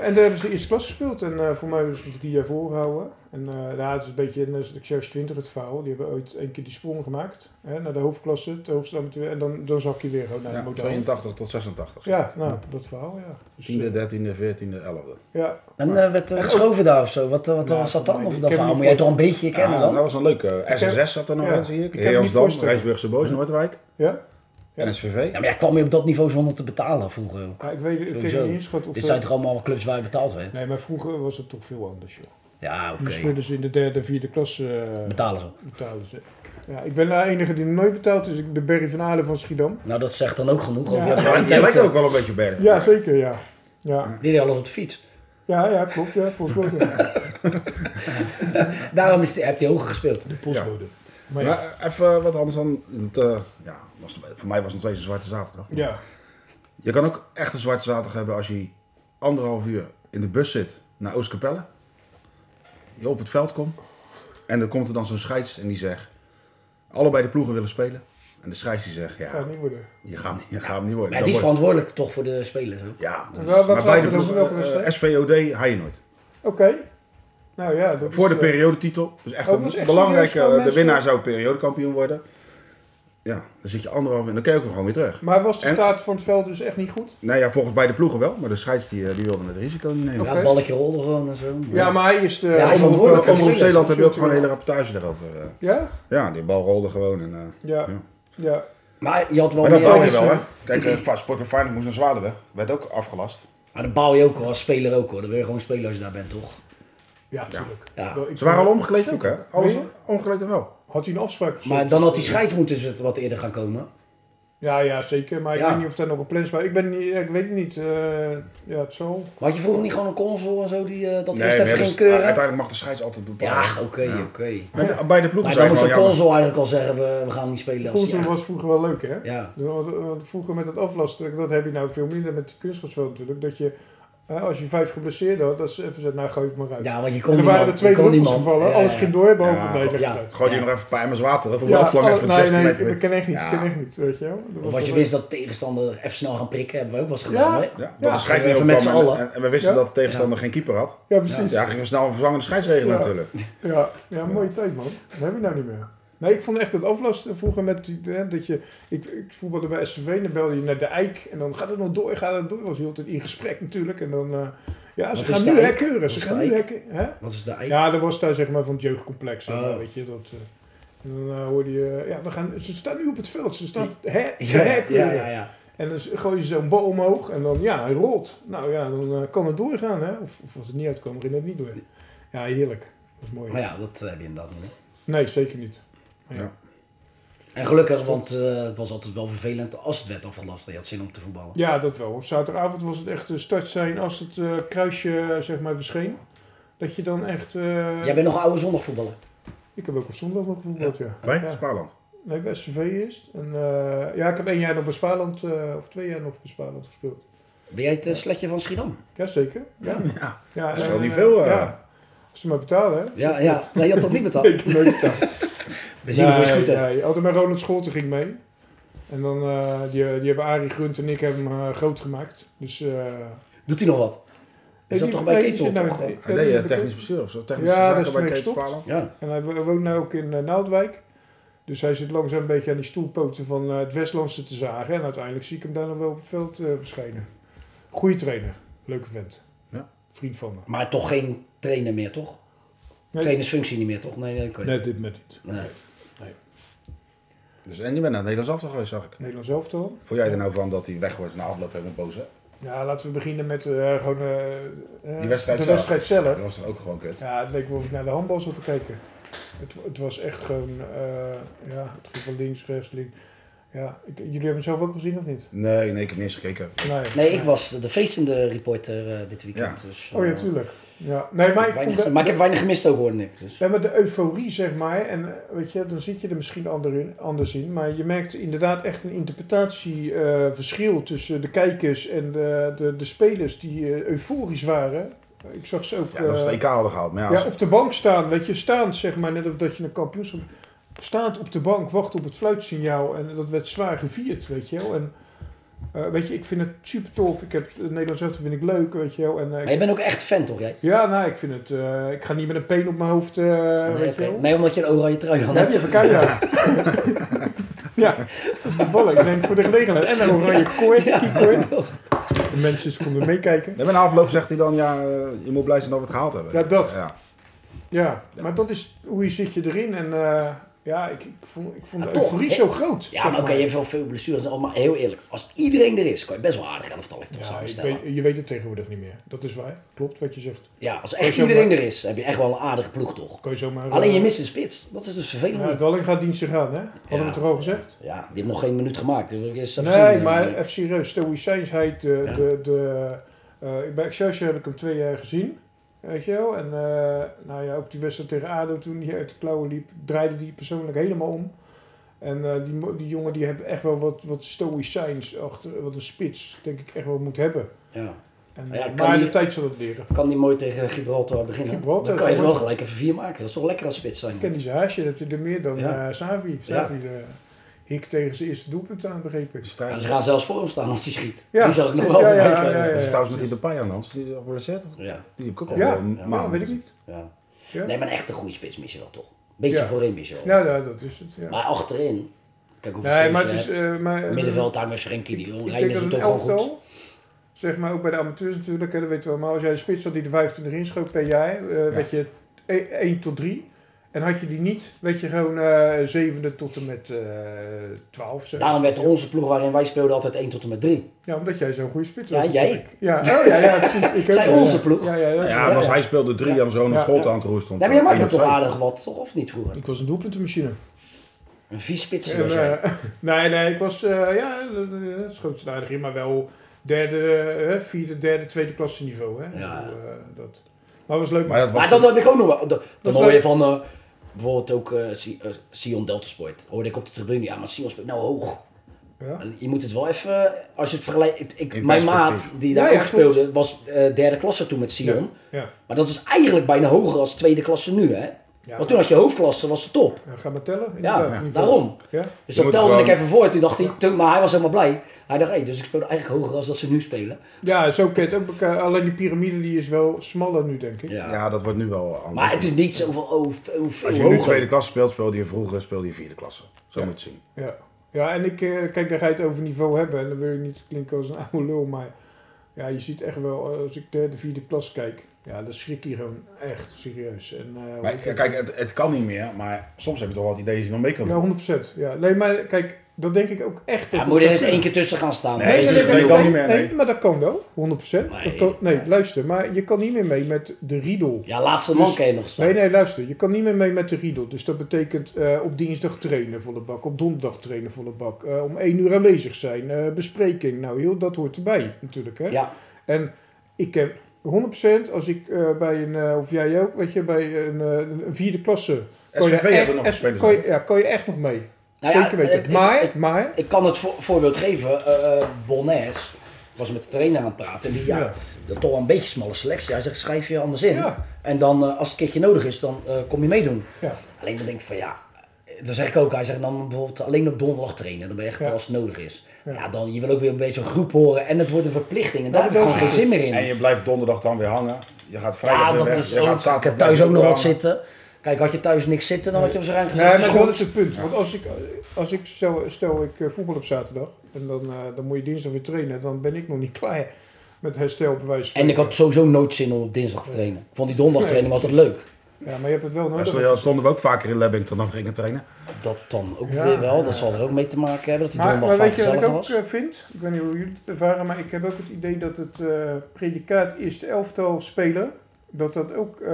[SPEAKER 3] En daar hebben ze eerste klas gespeeld. En eh, voor mij was het drie jaar voorgehouden. En eh, ja, het is een beetje een Excelsior 20 het verhaal. Die hebben ooit één keer die sprong gemaakt. Hè, naar de hoofdklasse, de hoogste amateur. En dan, dan zak je weer gewoon naar
[SPEAKER 2] Ja,
[SPEAKER 3] de model.
[SPEAKER 2] 82 tot 86.
[SPEAKER 3] Ja, nou, dat verhaal, ja. Dus,
[SPEAKER 2] 10e,
[SPEAKER 3] eh,
[SPEAKER 2] 13e, 14e, 11e.
[SPEAKER 3] ja,
[SPEAKER 4] En eh, werd eh, geschoven daar of zo? Wat, eh, wat
[SPEAKER 3] Nou,
[SPEAKER 4] was dat
[SPEAKER 3] ik-
[SPEAKER 4] dan? Of
[SPEAKER 3] ik
[SPEAKER 4] dat
[SPEAKER 3] ken
[SPEAKER 4] verhaal
[SPEAKER 3] me
[SPEAKER 4] moet jij
[SPEAKER 3] niet
[SPEAKER 4] toch een beetje kennen
[SPEAKER 2] Ah,
[SPEAKER 4] dan?
[SPEAKER 2] Dat was een leuke.
[SPEAKER 3] Ik heb-
[SPEAKER 2] SSS zat er nog
[SPEAKER 3] ja,
[SPEAKER 2] in, zie
[SPEAKER 3] ik
[SPEAKER 2] ik.
[SPEAKER 3] heb me niet
[SPEAKER 2] Heersdam,
[SPEAKER 3] voorstellen.
[SPEAKER 2] Rijsburgse Boys, Noordwijk.
[SPEAKER 3] ja. Ja.
[SPEAKER 2] NSVV.
[SPEAKER 4] Ja, maar ja, kwam je op dat niveau zonder te betalen vroeger ook.
[SPEAKER 3] Ja, ik weet ik kan
[SPEAKER 4] Sowieso.
[SPEAKER 3] niet inschatten of
[SPEAKER 4] Dit
[SPEAKER 3] dat-
[SPEAKER 4] zijn toch allemaal clubs waar je betaald werd?
[SPEAKER 3] Nee, maar vroeger was het toch veel anders, joh.
[SPEAKER 4] Ja, oké.
[SPEAKER 3] Die spelen ze in de derde, vierde klasse eh,
[SPEAKER 4] Betalen ze.
[SPEAKER 3] betalen ze. Ja, ik ben de enige die nooit betaalt, dus ik de Berry van Halen van Schiedam.
[SPEAKER 4] Nou, dat zegt dan ook genoeg
[SPEAKER 3] Ja.
[SPEAKER 4] over
[SPEAKER 2] Ja,
[SPEAKER 4] jouw
[SPEAKER 2] die
[SPEAKER 4] kwaliteit. eh.
[SPEAKER 2] lijkt ook wel een beetje op Berg.
[SPEAKER 3] Ja, zeker, ja. Ja,
[SPEAKER 4] Die deed alles op de fiets.
[SPEAKER 3] ja, ja klopt. Ja, postbode. Ja.
[SPEAKER 4] Daarom is die, heb hij hoger gespeeld.
[SPEAKER 3] De postbode. Maar ja.
[SPEAKER 2] Maar even wat anders dan. want, eh, ja, was, voor mij was het nog steeds een zwarte zaterdag.
[SPEAKER 3] ja.
[SPEAKER 2] Je kan ook echt een zwarte zaterdag hebben als je anderhalf uur in de bus zit naar Oostkapelle. Je op het veld komt. En dan komt er dan zo'n scheids en die zegt... Allebei de ploegen willen spelen. En de scheids die zegt, ja,
[SPEAKER 3] Kan niet worden.
[SPEAKER 2] je gaat, hem- je gaat hem niet worden.
[SPEAKER 4] Maar
[SPEAKER 2] Dat
[SPEAKER 4] die is
[SPEAKER 2] wordt-
[SPEAKER 4] verantwoordelijk toch voor de spelers. Hoor.
[SPEAKER 2] Ja, dus-
[SPEAKER 3] Wel, wat
[SPEAKER 2] maar bij de
[SPEAKER 3] zaterdag, welke
[SPEAKER 2] ploegen, eh,
[SPEAKER 3] wedstrijd?
[SPEAKER 2] SVOD haal je nooit.
[SPEAKER 3] Oké. Nou ja, dat
[SPEAKER 2] Voor
[SPEAKER 3] is,
[SPEAKER 2] de
[SPEAKER 3] eh,
[SPEAKER 2] periodetitel. Dus echt
[SPEAKER 3] Oh,
[SPEAKER 2] een
[SPEAKER 3] dat is echt
[SPEAKER 2] belangrijk.
[SPEAKER 3] serieus
[SPEAKER 2] eh,
[SPEAKER 3] voor
[SPEAKER 2] de
[SPEAKER 3] mensen.
[SPEAKER 2] winnaar zou periodekampioen worden. Ja, dan zit je anderhalf uur en dan kun je ook gewoon weer terug.
[SPEAKER 3] Maar was de
[SPEAKER 2] En-
[SPEAKER 3] staat van het veld dus echt niet goed?
[SPEAKER 2] Nou ja, volgens beide ploegen wel. Maar de scheids die, eh, die wilde het risico niet nemen.
[SPEAKER 4] Ja,
[SPEAKER 3] Oké.
[SPEAKER 4] het balletje rolde gewoon en zo.
[SPEAKER 3] Ja, maar hij is de...
[SPEAKER 4] Ja, hij is
[SPEAKER 3] Ja?
[SPEAKER 2] Omroep, eh,
[SPEAKER 4] verantwoordelijk voor de
[SPEAKER 2] Omroep
[SPEAKER 4] spelers.
[SPEAKER 2] Zeeland hebben ook gewoon een hele rapportage daarover. eh.
[SPEAKER 3] Ja.
[SPEAKER 2] Ja, die bal rolde gewoon. En, eh,
[SPEAKER 3] ja. ja.
[SPEAKER 4] Maar je had wel
[SPEAKER 2] maar dat
[SPEAKER 4] meer...
[SPEAKER 2] bouw je wel, hè? Kijk, uh, Sport en Feyenoord moest naar Zwaardenweg. Werd ook afgelast.
[SPEAKER 4] Maar dat bouw je ook hoor, als speler ook hoor. Dan wil je gewoon spelen als je daar bent, toch?
[SPEAKER 3] tuurlijk.
[SPEAKER 4] Ja.
[SPEAKER 3] Dat- ik
[SPEAKER 2] Ze waren al
[SPEAKER 3] vond-
[SPEAKER 2] omgekleed ook, hè? Alles
[SPEAKER 3] Meen
[SPEAKER 2] omgekleed en wel.
[SPEAKER 3] Had hij een afspraak of zo?
[SPEAKER 4] Maar dan had die scheids moeten ze wat eerder gaan komen.
[SPEAKER 3] Ja, ja, zeker. Maar ik
[SPEAKER 4] Ja.
[SPEAKER 3] weet niet of daar nog een plan is. Maar ik, ben niet, ik weet het niet. Eh, ja, het zal.
[SPEAKER 4] Maar had je vroeger niet gewoon een console en zo die eh, dat
[SPEAKER 2] we
[SPEAKER 4] eerst even
[SPEAKER 2] hebben-
[SPEAKER 4] ging keuren?
[SPEAKER 2] dus uiteindelijk mag de scheids altijd bepalen.
[SPEAKER 4] Ja, oké, oké.
[SPEAKER 2] Maar de- Beide ploegen
[SPEAKER 4] Maar dan
[SPEAKER 2] zijn
[SPEAKER 4] moest
[SPEAKER 2] gewoon
[SPEAKER 4] de
[SPEAKER 2] jammer.
[SPEAKER 4] console eigenlijk al zeggen, we, we gaan niet spelen als die
[SPEAKER 3] Console was vroeger wel leuk, hè?
[SPEAKER 4] Ja.
[SPEAKER 3] Want, want vroeger met het aflasten, dat heb je nou veel minder met die kunstgrasveld natuurlijk. Dat je, eh, als je vijf geblesseerden had, dat ze even zeiden, nou gooi het maar uit.
[SPEAKER 4] Ja, want je kon
[SPEAKER 3] en er
[SPEAKER 4] niet
[SPEAKER 3] waren
[SPEAKER 4] man.
[SPEAKER 3] er twee
[SPEAKER 4] Je kon niet
[SPEAKER 3] druppels
[SPEAKER 4] man.
[SPEAKER 3] gevallen,
[SPEAKER 4] Ja,
[SPEAKER 3] alles
[SPEAKER 4] ja.
[SPEAKER 3] ging door, behalve
[SPEAKER 2] Ja,
[SPEAKER 3] nee, leg het
[SPEAKER 4] ja.
[SPEAKER 3] uit.
[SPEAKER 2] Gooi die
[SPEAKER 4] Ja.
[SPEAKER 2] nog even een paar emmers water. Of een
[SPEAKER 3] Ja,
[SPEAKER 2] brandslang
[SPEAKER 3] alle-
[SPEAKER 2] even
[SPEAKER 3] nee,
[SPEAKER 2] 16
[SPEAKER 3] nee,
[SPEAKER 2] meter.
[SPEAKER 3] dat
[SPEAKER 2] weg.
[SPEAKER 3] ken echt niet,
[SPEAKER 2] Ja.
[SPEAKER 3] ken echt niet, weet je wel. Dat was
[SPEAKER 4] Of als je
[SPEAKER 3] wel-
[SPEAKER 4] wist dat tegenstander even snel gaan prikken, hebben we ook wel eens gedaan.
[SPEAKER 3] Ja.
[SPEAKER 4] hè?
[SPEAKER 2] Ja, dat
[SPEAKER 3] Ja,
[SPEAKER 2] de scheids niet
[SPEAKER 4] even
[SPEAKER 2] opkwam
[SPEAKER 4] met z'n
[SPEAKER 2] en-
[SPEAKER 4] allen.
[SPEAKER 2] En, en we wisten
[SPEAKER 3] Ja.
[SPEAKER 2] dat de tegenstander geen keeper had.
[SPEAKER 3] Ja, precies.
[SPEAKER 2] Ja,
[SPEAKER 3] Ja,
[SPEAKER 2] gingen we snel een vervangende scheidsregel
[SPEAKER 3] Ja.
[SPEAKER 2] natuurlijk.
[SPEAKER 3] ja, mooie tijd, man. Dat hebben we nou niet meer. Nee, ik vond echt het aflasten vroeger met die- hè, dat je... Ik, ik voetbalde bij SCV en dan belde je naar de Eik. En dan gaat het nog door, gaat het door. Was heel tijd in gesprek natuurlijk. En dan... eh, ja, ze
[SPEAKER 4] Wat is
[SPEAKER 3] gaan
[SPEAKER 4] de
[SPEAKER 3] nu
[SPEAKER 4] Eik?
[SPEAKER 3] hekken.
[SPEAKER 4] Wat
[SPEAKER 3] Ze
[SPEAKER 4] is
[SPEAKER 3] gaan
[SPEAKER 4] de
[SPEAKER 3] nu
[SPEAKER 4] Eik?
[SPEAKER 3] hekken. Hè?
[SPEAKER 4] Wat is de eik?
[SPEAKER 3] Ja, dat was daar zeg maar van het jeugdcomplex. zeg maar,
[SPEAKER 4] Oh.
[SPEAKER 3] Weet je, dat, eh, en dan eh, hoorde je, ja, we gaan, ze staan nu op het veld. Ze staan te her, te
[SPEAKER 4] Ja,
[SPEAKER 3] herkeuren.
[SPEAKER 4] ja, ja, ja.
[SPEAKER 3] En dan gooi je zo'n bal omhoog en dan, ja, hij rolt. Nou ja, dan eh, kan het doorgaan, hè. Of, of als het niet uitkomt, ging het niet door. Ja, heerlijk. Dat is mooi.
[SPEAKER 4] Maar ja, dat heb je inderdaad niet.
[SPEAKER 3] Nee, zeker niet. Maar ja.
[SPEAKER 2] Ja.
[SPEAKER 4] En gelukkig, want eh, het was altijd wel vervelend als het werd afgelast. en Je had zin om te voetballen.
[SPEAKER 3] Ja, dat wel. Op zaterdagavond was het echt eh, start zijn als het eh, kruisje, eh, zeg maar, verscheen. Dat je dan echt... eh,
[SPEAKER 4] Jij bent nog een oude zondagvoetballer.
[SPEAKER 3] Ik heb ook op zondag nog gevoeld, ja.
[SPEAKER 2] Wij?
[SPEAKER 3] Ja.
[SPEAKER 2] Spaarland.
[SPEAKER 3] Nee, bij SCV eerst. En, eh, ja, ik heb één jaar nog bij Spaarland, eh, of twee jaar nog bij Spaarland gespeeld.
[SPEAKER 4] Ben jij het eh, sletje van Schiedam?
[SPEAKER 3] Jazeker. Ja.
[SPEAKER 2] Ja.
[SPEAKER 3] ja
[SPEAKER 2] scheelt
[SPEAKER 3] en,
[SPEAKER 2] niet
[SPEAKER 3] eh,
[SPEAKER 2] veel, eh.
[SPEAKER 3] Ja. Als ze maar betalen, hè.
[SPEAKER 4] Ja, ja. Nee, je had dat niet betaald.
[SPEAKER 3] Ik heb nooit betaald.
[SPEAKER 4] We zien hem weer
[SPEAKER 3] Nee,
[SPEAKER 4] scooteren.
[SPEAKER 3] nee. Altijd met Ronald Scholten ging mee. En dan, eh, die, die hebben Arie Grunt en ik hebben hem eh, groot gemaakt. Dus... eh,
[SPEAKER 4] Doet hij nog wat? Is dat
[SPEAKER 3] die-
[SPEAKER 4] toch bij
[SPEAKER 3] nee, die
[SPEAKER 4] Ketel?
[SPEAKER 3] zit nou-
[SPEAKER 4] toch?
[SPEAKER 3] nee,
[SPEAKER 2] Hij
[SPEAKER 3] die
[SPEAKER 2] deed
[SPEAKER 3] zit
[SPEAKER 2] eh,
[SPEAKER 3] bij
[SPEAKER 2] technisch bestuur of zo. Technisch
[SPEAKER 3] Ja,
[SPEAKER 2] zaken
[SPEAKER 3] dat is
[SPEAKER 2] bij
[SPEAKER 3] mee
[SPEAKER 2] Kees
[SPEAKER 3] gestopt.
[SPEAKER 2] Spaarland.
[SPEAKER 4] Ja.
[SPEAKER 3] En hij wo- woont nu ook in eh, Naaldwijk. Dus hij zit langzaam een beetje aan die stoelpoten van eh, het Westlandse te zagen. En uiteindelijk zie ik hem daar nog wel op het veld eh, verschijnen. Goeie trainer. Leuke vent.
[SPEAKER 2] Ja.
[SPEAKER 3] Vriend van me.
[SPEAKER 4] Maar toch geen trainer meer, toch?
[SPEAKER 3] Nee.
[SPEAKER 4] Trainersfunctie niet meer, toch? Nee, nee, ik weet het.
[SPEAKER 3] Nee, dit met niet.
[SPEAKER 4] Nee.
[SPEAKER 2] Dus, en je bent naar het Nederlands elftal geweest, zag ik.
[SPEAKER 3] Nederlands elftal.
[SPEAKER 2] Vond jij er nou van dat hij weg wordt na afloop helemaal boos? Hè?
[SPEAKER 3] Ja, laten we beginnen met eh, gewoon eh, eh,
[SPEAKER 2] Die wedstrijd
[SPEAKER 3] de
[SPEAKER 2] zelf.
[SPEAKER 3] wedstrijd zelf.
[SPEAKER 2] Dat was toch ook gewoon kut?
[SPEAKER 3] Ja, het leek wel of ik naar de handbal zat te kijken. Het, wa- het was echt gewoon, eh, ja, het ging van links, rechts, links. Ja, ik- jullie hebben hem zelf ook gezien of niet?
[SPEAKER 2] Nee, nee, ik heb niet eens gekeken.
[SPEAKER 3] Nee,
[SPEAKER 4] Nee, ik was de feestende reporter eh, dit weekend.
[SPEAKER 2] Ja.
[SPEAKER 4] Dus, eh,
[SPEAKER 3] Oh ja, tuurlijk. Ja. Nee, maar
[SPEAKER 4] ik
[SPEAKER 3] ik
[SPEAKER 4] heb weinig-
[SPEAKER 3] vond dat-
[SPEAKER 4] maar ik heb weinig gemist ook, hoorde ik. Dus.
[SPEAKER 3] Ja, maar de euforie, zeg maar, en eh, weet je, dan zit je er misschien ander in- anders in, maar je merkt inderdaad echt een interpretatieverschil eh, tussen de kijkers en de, de, de spelers die eh, euforisch waren. Ik zag ze ook
[SPEAKER 2] Ja, dat is het
[SPEAKER 3] eh,
[SPEAKER 2] EK hadden gehaald. Maar ja,
[SPEAKER 3] ja,
[SPEAKER 2] als-
[SPEAKER 3] op de bank staan, weet je, staand, zeg maar, net of dat je een kampioenschap... Staand op de bank, wacht op het fluitsignaal en dat werd zwaar gevierd, weet je wel. En, eh, weet je, ik vind het super tof, ik heb het Nederlands Elftal vind ik leuk, weet je wel. En, eh, ik-
[SPEAKER 4] Maar je bent ook echt fan, toch? Jij?
[SPEAKER 3] ja, nou, ik vind het... eh, ik ga niet met een peen op mijn hoofd, eh,
[SPEAKER 4] nee,
[SPEAKER 3] weet
[SPEAKER 4] oké.
[SPEAKER 3] je wel.
[SPEAKER 4] nee, omdat je een oranje trui aan
[SPEAKER 3] Dan heb
[SPEAKER 4] hebt.
[SPEAKER 3] je even keihard. ja, dat is toevallig. Ik denk voor de gelegenheid. En een oranje koord, keycord. De mensen konden meekijken.
[SPEAKER 2] Nee, maar na afloop zegt hij dan, ja, eh, je moet blij zijn dat we het gehaald hebben.
[SPEAKER 3] Ja, dat.
[SPEAKER 2] Ja.
[SPEAKER 3] Ja, maar dat is hoe je zit je erin. En eh, Ja, ik, ik vond, ik vond
[SPEAKER 4] Maar
[SPEAKER 3] de
[SPEAKER 4] toch,
[SPEAKER 3] euforie
[SPEAKER 4] hè?
[SPEAKER 3] zo groot.
[SPEAKER 4] Ja,
[SPEAKER 3] zeg
[SPEAKER 4] maar oké, je hebt wel veel blessures. en al, Maar heel eerlijk, als iedereen er is, kan je best wel aardig elftal toch
[SPEAKER 3] Ja, ik
[SPEAKER 4] samenstellen.
[SPEAKER 3] weet, je weet het tegenwoordig niet meer. Dat is waar. Klopt wat je zegt.
[SPEAKER 4] Ja, als
[SPEAKER 3] Kan
[SPEAKER 4] echt
[SPEAKER 3] je zomaar-
[SPEAKER 4] iedereen er is, heb je echt wel een aardige ploeg toch.
[SPEAKER 3] Kan je zomaar...
[SPEAKER 4] Alleen je
[SPEAKER 3] eh,
[SPEAKER 4] mist een spits. Dat is dus vervelend.
[SPEAKER 3] Ja, Dalling gaat diensten gaan, hè? Hadden we
[SPEAKER 4] Ja.
[SPEAKER 3] het er al gezegd?
[SPEAKER 4] Ja, die heeft nog geen minuut gemaakt. Dus ik eens even
[SPEAKER 3] Nee,
[SPEAKER 4] zien,
[SPEAKER 3] maar
[SPEAKER 4] eh,
[SPEAKER 3] even serieus. Stoïcijnsheid. De,
[SPEAKER 4] Ja.
[SPEAKER 3] eh, de, de, eh, bij Excelsior heb ik hem twee jaar gezien. Weet je wel? En eh, nou ja, ook die wedstrijd tegen ADO toen hij uit de klauwen liep, draaide die persoonlijk helemaal om. En eh, die, mo- die jongen die heeft echt wel wat, wat stoïcijns achter, wat een spits, denk ik echt wel moet hebben.
[SPEAKER 4] ja.
[SPEAKER 3] En,
[SPEAKER 4] Ja,
[SPEAKER 3] eh,
[SPEAKER 4] kan
[SPEAKER 3] maar
[SPEAKER 4] die-
[SPEAKER 3] de tijd zal het leren.
[SPEAKER 4] Kan die mooi tegen Gibraltar beginnen?
[SPEAKER 3] Gibraltar,
[SPEAKER 4] dan kan je er wel
[SPEAKER 3] gewoon-
[SPEAKER 4] gelijk even vier maken. Dat is toch lekker als spits zijn?
[SPEAKER 3] Ik ken die zijn haasje, dat hij er meer dan
[SPEAKER 4] Ja.
[SPEAKER 3] eh Savi. Savi eh, hikt tegen zijn eerste doelpunt aan, begreep ik.
[SPEAKER 2] De
[SPEAKER 4] Ja,
[SPEAKER 2] strijd.
[SPEAKER 4] ze gaan zelfs voor hem staan als hij schiet.
[SPEAKER 3] Ja,
[SPEAKER 4] Die zal ik nog
[SPEAKER 3] precies.
[SPEAKER 4] wel
[SPEAKER 3] Ja,
[SPEAKER 4] voorbij
[SPEAKER 3] ja,
[SPEAKER 4] komen.
[SPEAKER 3] ja,
[SPEAKER 2] Dat is
[SPEAKER 3] ja.
[SPEAKER 2] trouwens met die de Pai aan de hand. Die is geblesseerd, toch?
[SPEAKER 4] Ja,
[SPEAKER 2] Die heb ik ook al
[SPEAKER 3] Ja,
[SPEAKER 2] eh,
[SPEAKER 3] ja,
[SPEAKER 2] maanden.
[SPEAKER 3] weet ik niet.
[SPEAKER 4] ja.
[SPEAKER 3] Ja.
[SPEAKER 4] Nee, maar een echte goede spits mis je wel toch? Beetje
[SPEAKER 3] Ja.
[SPEAKER 4] voorin mis je wel.
[SPEAKER 3] Nou, ja, dat is het. Ja.
[SPEAKER 4] Maar achterin, kijk hoeveel
[SPEAKER 3] Nee,
[SPEAKER 4] keuzes
[SPEAKER 3] maar
[SPEAKER 4] je
[SPEAKER 3] het is...
[SPEAKER 4] hebt.
[SPEAKER 3] eh, maar,
[SPEAKER 4] Middenveld daar met Frenkie de Jong.
[SPEAKER 3] Ik denk
[SPEAKER 4] Reinders
[SPEAKER 3] dat
[SPEAKER 4] doet
[SPEAKER 3] een
[SPEAKER 4] ook wel goed.
[SPEAKER 3] elftal, zeg maar ook bij de amateurs natuurlijk, hè, dat weten we allemaal. Als jij een spits had die de 25 inschoot per jaar, eh, werd je 1 tot 3. En had je die niet, werd je gewoon eh zevende tot en met eh 12. Zeg. maar.
[SPEAKER 4] Daarom werd onze ploeg waarin wij speelden altijd 1 tot en met 3.
[SPEAKER 3] Ja, omdat jij zo'n goede spits
[SPEAKER 4] Ja,
[SPEAKER 3] was.
[SPEAKER 4] jij.
[SPEAKER 3] Ja, oh, ja, ja, precies. Ik ook,
[SPEAKER 4] Zij
[SPEAKER 3] ja,
[SPEAKER 4] onze
[SPEAKER 3] ja.
[SPEAKER 4] ploeg.
[SPEAKER 3] Ja, ja, ja.
[SPEAKER 2] Nou Ja, maar als
[SPEAKER 4] Ja.
[SPEAKER 2] hij speelde drie en zo'n
[SPEAKER 3] Ja.
[SPEAKER 2] ja. schot aan het roer stond.
[SPEAKER 4] Nee, maar je maakt er toch
[SPEAKER 2] 1-2.
[SPEAKER 4] aardig wat, toch? Of niet vroeger?
[SPEAKER 3] Ik was een doelpuntenmachine.
[SPEAKER 4] Een vies spits.
[SPEAKER 3] En,
[SPEAKER 4] was jij.
[SPEAKER 3] eh, nee, nee, ik was, eh ja, eh, eh, schoot ze aardig in, maar wel derde, eh, vierde, derde, tweede klasse niveau. Hè?
[SPEAKER 4] Ja.
[SPEAKER 3] Ik bedoel, eh, dat. Maar het was leuk.
[SPEAKER 2] Maar dat was
[SPEAKER 4] Maar dat
[SPEAKER 2] toen-
[SPEAKER 4] heb ik ook nog wel. Dat- Dan
[SPEAKER 3] is
[SPEAKER 4] hoor je
[SPEAKER 3] leuk.
[SPEAKER 4] van eh, bijvoorbeeld ook eh, Si- eh, Sion Deltasport. Hoorde ik op de tribune, ja, maar Sion speelt nou hoog.
[SPEAKER 3] Ja.
[SPEAKER 4] En Je moet het wel even, eh, als je het vergelijkt. ik- Ik,
[SPEAKER 2] In
[SPEAKER 4] mijn maat
[SPEAKER 2] perspectief.
[SPEAKER 4] die daar
[SPEAKER 3] Ja, ja,
[SPEAKER 4] ook
[SPEAKER 3] klopt.
[SPEAKER 4] speelde, was eh, derde klasse toen met Sion.
[SPEAKER 3] Ja.
[SPEAKER 4] Maar dat is eigenlijk bijna hoger als tweede klasse nu, hè?
[SPEAKER 3] Ja.
[SPEAKER 4] Want toen had je hoofdklasse, was de top.
[SPEAKER 3] Ja, eh, ga maar tellen.
[SPEAKER 4] Ja,
[SPEAKER 3] inderdaad, niveaus.
[SPEAKER 4] daarom.
[SPEAKER 3] Ja?
[SPEAKER 4] Dus
[SPEAKER 2] Je
[SPEAKER 4] dat
[SPEAKER 2] moet
[SPEAKER 4] telde ik
[SPEAKER 2] gewoon-
[SPEAKER 4] even voor. Toen dacht hij, toen- maar hij was helemaal blij. Hij dacht, hé, dus ik speel eigenlijk hoger als dat ze nu spelen.
[SPEAKER 3] ja, zo kent ook elkaar. Alleen die piramide die is wel smaller nu, denk ik.
[SPEAKER 4] Ja.
[SPEAKER 2] Ja, dat wordt nu wel anders.
[SPEAKER 4] Maar het is niet zo van, oh, veel, veel
[SPEAKER 2] Als je nu
[SPEAKER 4] hoger.
[SPEAKER 2] tweede klasse speelt, speelde je vroeger speelde je vierde klasse. Zo moet je het zien.
[SPEAKER 3] Ja, ja en ik, eh, kijk, daar ga je het over niveau hebben. En dan wil je niet klinken als een oude lul, maar ja, je ziet echt wel, eh, als ik de, de vierde klas kijk, ja, dan schrik je gewoon echt serieus. En, eh,
[SPEAKER 2] Maar k- kijk, het, het kan niet meer, maar soms heb je toch wel het idee dat je nog mee kan
[SPEAKER 3] ja,
[SPEAKER 2] doen.
[SPEAKER 3] 100%. Ja, nee, maar kijk, dat denk ik ook echt.
[SPEAKER 4] Hij
[SPEAKER 3] dat
[SPEAKER 4] moet
[SPEAKER 3] het
[SPEAKER 4] er eens
[SPEAKER 3] zo-
[SPEAKER 4] één keer tussen gaan staan.
[SPEAKER 2] Nee,
[SPEAKER 4] Weet
[SPEAKER 3] dat
[SPEAKER 4] je,
[SPEAKER 2] is-
[SPEAKER 4] ik bedoel-
[SPEAKER 2] kan niet meer,
[SPEAKER 3] nee,
[SPEAKER 2] nee.
[SPEAKER 3] maar dat kan wel, 100%.
[SPEAKER 4] Nee.
[SPEAKER 3] Nee, dat kan, nee luister, maar je kan niet meer mee met de riedel.
[SPEAKER 4] Ja, laatste man
[SPEAKER 3] Dus-
[SPEAKER 4] ken je nog staan.
[SPEAKER 3] Nee, nee, luister. Je kan niet meer mee met de riedel. Dus dat betekent eh, op dinsdag trainen volle bak. Op donderdag trainen volle bak. eh, om één uur aanwezig zijn. eh, bespreking. Nou, heel dat hoort erbij natuurlijk. Hè?
[SPEAKER 4] Ja,
[SPEAKER 3] En ik heb 100% als ik eh, bij een, eh, of jij ook, weet je, bij een, eh, een vierde klasse. Kan
[SPEAKER 2] SVV
[SPEAKER 3] echt,
[SPEAKER 2] hebben nog
[SPEAKER 3] echt-
[SPEAKER 2] spelers
[SPEAKER 3] kan je,
[SPEAKER 2] aan.
[SPEAKER 3] ja, kan je echt nog mee.
[SPEAKER 4] Nou ja,
[SPEAKER 3] Zeker weten.
[SPEAKER 4] ik- ik-
[SPEAKER 3] maar,
[SPEAKER 4] ik-
[SPEAKER 3] maar,
[SPEAKER 4] ik kan het voor- voorbeeld geven. eh eh, Bonnes was met de trainer aan het praten. Die, ja,
[SPEAKER 3] Ja.
[SPEAKER 4] dat toch wel een beetje smalle selectie. Hij zegt, schrijf je anders in.
[SPEAKER 3] Ja.
[SPEAKER 4] En dan, eh, als het een keertje nodig is, dan eh, kom je meedoen.
[SPEAKER 3] ja.
[SPEAKER 4] Alleen dan denk ik van, ja... eh, Dan zeg ik ook, hij zegt dan bijvoorbeeld alleen op donderdag trainen. Dan ben je echt
[SPEAKER 3] Ja.
[SPEAKER 4] als het nodig is. Ja. dan, je wil ook weer een beetje een groep horen. En het wordt een verplichting. En daar
[SPEAKER 3] Nou,
[SPEAKER 4] heb ik
[SPEAKER 3] dat
[SPEAKER 4] gewoon geen
[SPEAKER 3] is
[SPEAKER 4] zin meer in.
[SPEAKER 2] En je blijft donderdag dan weer hangen. Je gaat vrijdag
[SPEAKER 4] ja,
[SPEAKER 2] weer
[SPEAKER 4] dat
[SPEAKER 2] weg.
[SPEAKER 4] is
[SPEAKER 2] je gaat
[SPEAKER 4] ook... Ik
[SPEAKER 2] zaterdag
[SPEAKER 4] heb thuis
[SPEAKER 2] weer
[SPEAKER 4] ook nog wat
[SPEAKER 2] hangen.
[SPEAKER 4] zitten. Kijk, had je thuis niks zitten, dan had je waarschijnlijk
[SPEAKER 3] Nee, maar
[SPEAKER 4] gezegd...
[SPEAKER 3] dat
[SPEAKER 4] "Goed."
[SPEAKER 3] is het punt. Want als ik, als ik stel, stel ik eh, voetbal op zaterdag en dan, eh, dan moet je dinsdag weer trainen, dan ben ik nog niet klaar met herstelbewijs.
[SPEAKER 4] En ik had sowieso nooit zin om op dinsdag te trainen. Ik vond die donderdagtraining altijd leuk.
[SPEAKER 3] Ja, maar je hebt het wel
[SPEAKER 2] Maar
[SPEAKER 3] nodig.
[SPEAKER 2] stel je- stonden we ook vaker in Lebbington dan gingen trainen.
[SPEAKER 4] Dat dan ook
[SPEAKER 3] Ja.
[SPEAKER 4] weer wel. Dat zal er ook mee te maken hebben dat die
[SPEAKER 3] Maar,
[SPEAKER 4] donderdag
[SPEAKER 3] maar
[SPEAKER 4] vaak
[SPEAKER 3] weet je wat ik ook
[SPEAKER 4] gezellig was.
[SPEAKER 3] eh, vind? Ik weet niet hoe jullie het ervaren, maar ik heb ook het idee dat het eh, predicaat eerste elftal spelen, dat dat ook eh,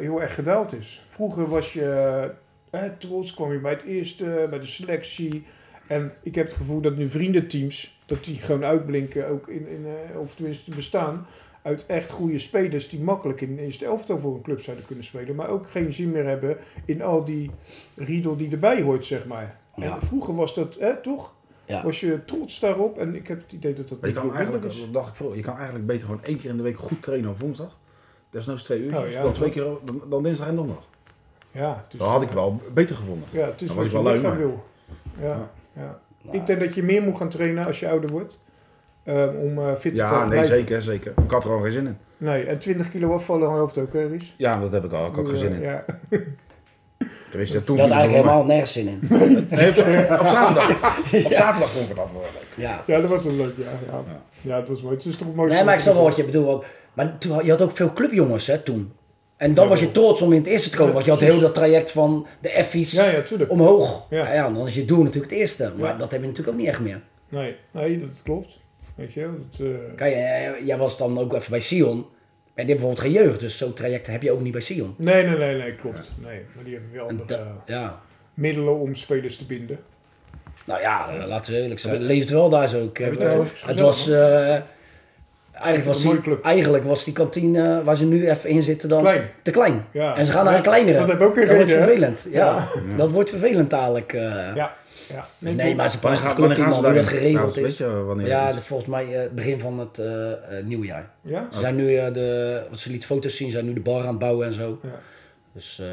[SPEAKER 3] heel erg gedaald is. Vroeger was je eh, trots, kwam je bij het eerste, bij de selectie. En ik heb het gevoel dat nu vriendenteams, dat die gewoon uitblinken, ook in, in, eh, of tenminste bestaan, uit echt goede spelers die makkelijk in de eerste elftal voor een club zouden kunnen spelen, maar ook geen zin meer hebben in al die riedel die erbij hoort, zeg maar.
[SPEAKER 4] Ja.
[SPEAKER 3] En vroeger was dat, hè, toch?
[SPEAKER 4] Ja.
[SPEAKER 3] Was je trots daarop en ik heb het idee dat dat
[SPEAKER 2] Maar je kan
[SPEAKER 3] veel
[SPEAKER 2] eigenlijk,
[SPEAKER 3] minder is.
[SPEAKER 2] dat dacht ik vroeger, je kan eigenlijk beter gewoon één keer in de week goed trainen op woensdag. Desnoods twee uurtjes,
[SPEAKER 3] Oh ja,
[SPEAKER 2] dan twee
[SPEAKER 3] dat-
[SPEAKER 2] keer dan, dan dinsdag en donderdag.
[SPEAKER 3] Ja,
[SPEAKER 4] Dus-
[SPEAKER 3] het is-
[SPEAKER 2] Dat had ik wel beter gevonden.
[SPEAKER 3] Ja, het is
[SPEAKER 2] Dat
[SPEAKER 3] wat
[SPEAKER 2] was
[SPEAKER 3] je
[SPEAKER 2] wel leuk,
[SPEAKER 3] lichaam
[SPEAKER 2] maar-
[SPEAKER 3] wil. Ja, ja.
[SPEAKER 4] Nou,
[SPEAKER 3] eh, Ik denk dat je meer moet gaan trainen als je ouder wordt. ehm, om eh, fit te
[SPEAKER 2] Ja,
[SPEAKER 3] blijven.
[SPEAKER 2] nee, zeker, zeker. Ik had er gewoon geen zin in.
[SPEAKER 3] Nee, en 20 kilo afvallen helpt ook, hè, Ries? Eh,
[SPEAKER 2] Ja, dat heb ik al. Ik had er geen zin in.
[SPEAKER 3] Ja.
[SPEAKER 2] Tenminste, ja, toen
[SPEAKER 4] Ik had
[SPEAKER 2] viel het wel
[SPEAKER 4] eigenlijk helemaal nergens zin in.
[SPEAKER 2] mee. Nee, op, op zaterdag. Op zaterdag vond ik het altijd wel leuk.
[SPEAKER 4] Ja.
[SPEAKER 3] ja, dat was wel leuk. Ja, ja. ja dat was mooi. Het is toch mooi.
[SPEAKER 4] Nee, maar ik snap wel wat je bedoelt. want- Maar toen, had- je had ook veel clubjongens hè, toen. En dan was je trots om in het eerste te komen. Want je had heel dat traject van de F's
[SPEAKER 3] Ja, ja, tuurlijk.
[SPEAKER 4] omhoog.
[SPEAKER 3] Ja.
[SPEAKER 4] Ja. dan is je doel natuurlijk het eerste. Maar
[SPEAKER 3] Ja.
[SPEAKER 4] dat heb je natuurlijk ook niet echt meer.
[SPEAKER 3] Nee, nee, dat klopt. Weet je, wel, dat, eh,
[SPEAKER 4] Kijk, eh, jij was dan ook even bij Sion. Maar die hebben bijvoorbeeld geen jeugd. Dus zo'n traject heb je ook niet bij Sion.
[SPEAKER 3] nee, nee, nee, nee, klopt. Nee, maar die hebben wel
[SPEAKER 4] En
[SPEAKER 3] andere
[SPEAKER 4] dat-
[SPEAKER 3] eh,
[SPEAKER 4] ja.
[SPEAKER 3] middelen om spelers te binden.
[SPEAKER 4] Nou ja, eh, laten we eerlijk zijn. Het leeft wel daar zo. Ik heb,
[SPEAKER 3] je het
[SPEAKER 4] eh,
[SPEAKER 3] ook
[SPEAKER 4] het
[SPEAKER 3] gezellig,
[SPEAKER 4] was... eh,
[SPEAKER 3] het
[SPEAKER 4] Eigenlijk
[SPEAKER 3] een
[SPEAKER 4] was,
[SPEAKER 3] mooie
[SPEAKER 4] die,
[SPEAKER 3] club.
[SPEAKER 4] eigenlijk was die kantine eh, waar ze nu even in zitten dan
[SPEAKER 3] Klein.
[SPEAKER 4] te klein.
[SPEAKER 3] Ja.
[SPEAKER 4] En ze gaan naar een kleinere.
[SPEAKER 3] Dat heb ik ook weer
[SPEAKER 4] wordt
[SPEAKER 3] reden, hè?
[SPEAKER 4] vervelend. Ja. Dat wordt vervelend dadelijk. eh.
[SPEAKER 3] Ja, ja.
[SPEAKER 4] Dus nee, maar ze
[SPEAKER 2] Wanneer
[SPEAKER 4] praten
[SPEAKER 2] gaan-
[SPEAKER 4] club
[SPEAKER 2] wanneer
[SPEAKER 4] die
[SPEAKER 2] gaan ze
[SPEAKER 4] man, hoe dat
[SPEAKER 2] daarin?
[SPEAKER 4] geregeld
[SPEAKER 2] Nou, Weet
[SPEAKER 4] is.
[SPEAKER 2] je wanneer?
[SPEAKER 4] Ja,
[SPEAKER 2] het
[SPEAKER 4] de-
[SPEAKER 2] is?
[SPEAKER 4] volgens mij eh, begin van het eh, eh, nieuwjaar.
[SPEAKER 3] Ja?
[SPEAKER 4] Ze zijn nu eh, de, wat ze liet foto's zien, ze zijn nu de bar aan het bouwen en zo.
[SPEAKER 3] Ja.
[SPEAKER 4] Dus eh,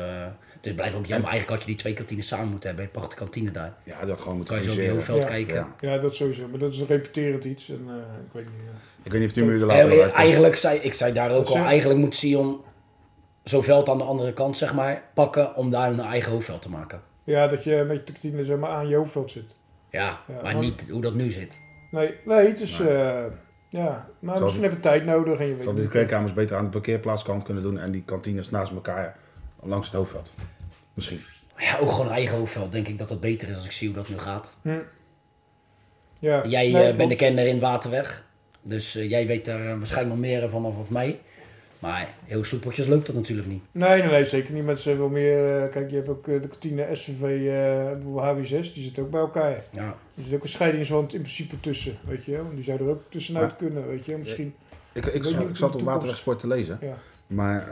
[SPEAKER 4] het is blijft ook jammer. Eigenlijk had je die twee kantines samen moeten hebben. Een prachtige kantine daar. Dan
[SPEAKER 2] ja, dat gewoon moeten
[SPEAKER 4] kan je zo op je
[SPEAKER 2] organiseren.
[SPEAKER 4] heel veld
[SPEAKER 3] Ja.
[SPEAKER 4] kijken.
[SPEAKER 2] Ja.
[SPEAKER 3] ja, dat sowieso. Maar dat is repeterend iets. En, eh, ik weet niet. eh.
[SPEAKER 2] Ik weet niet of die muur er
[SPEAKER 4] Eh,
[SPEAKER 2] later wel uitkomt.
[SPEAKER 4] eigenlijk zei ik zei daar ook
[SPEAKER 3] Dat
[SPEAKER 4] al,
[SPEAKER 3] zeg-
[SPEAKER 4] eigenlijk moet Sion zo'n veld aan de andere kant zeg maar pakken om daar een eigen hoofdveld te maken.
[SPEAKER 3] Ja, dat je met de kantine zeg maar, aan je hoofdveld zit.
[SPEAKER 4] Ja,
[SPEAKER 3] Ja,
[SPEAKER 4] maar
[SPEAKER 3] maar-
[SPEAKER 4] niet hoe dat nu zit.
[SPEAKER 3] Nee, nee, het is... eh, ja, maar
[SPEAKER 2] Zal
[SPEAKER 3] misschien
[SPEAKER 2] die-
[SPEAKER 3] heb je tijd nodig en je weet
[SPEAKER 2] Zodat
[SPEAKER 3] niet.
[SPEAKER 2] die kleedkamers beter aan de parkeerplaatskant kunnen doen en die kantines naast elkaar eh, langs het hoofdveld. Misschien.
[SPEAKER 4] Maar ja, ook gewoon een eigen hoofdveld denk ik dat dat beter is als ik zie hoe dat nu gaat.
[SPEAKER 3] Hm. Ja.
[SPEAKER 4] Jij eh,
[SPEAKER 3] Nee,
[SPEAKER 4] bent de
[SPEAKER 3] klopt.
[SPEAKER 4] kenner in Waterweg, dus eh, jij weet daar eh, waarschijnlijk nog meer van of mij. Maar heel soepeltjes loopt dat natuurlijk niet.
[SPEAKER 3] Nee, nee, nee, zeker niet. Mensen hebben wel meer... eh, kijk, je hebt ook eh, de kantine SCV, eh, bijvoorbeeld HB6, die zitten ook bij elkaar.
[SPEAKER 4] Ja,
[SPEAKER 3] Er zit ook een scheidingswand in principe tussen, weet je wel. Die zou er ook tussenuit
[SPEAKER 2] Ja.
[SPEAKER 3] kunnen, weet je wel. Misschien,
[SPEAKER 2] Ik, ik,
[SPEAKER 3] weet
[SPEAKER 2] zat-
[SPEAKER 3] niet
[SPEAKER 2] ik
[SPEAKER 3] hoe
[SPEAKER 2] zat
[SPEAKER 3] de
[SPEAKER 2] op
[SPEAKER 3] toekomst-
[SPEAKER 2] Waterwegsport te lezen,
[SPEAKER 3] ja.
[SPEAKER 2] maar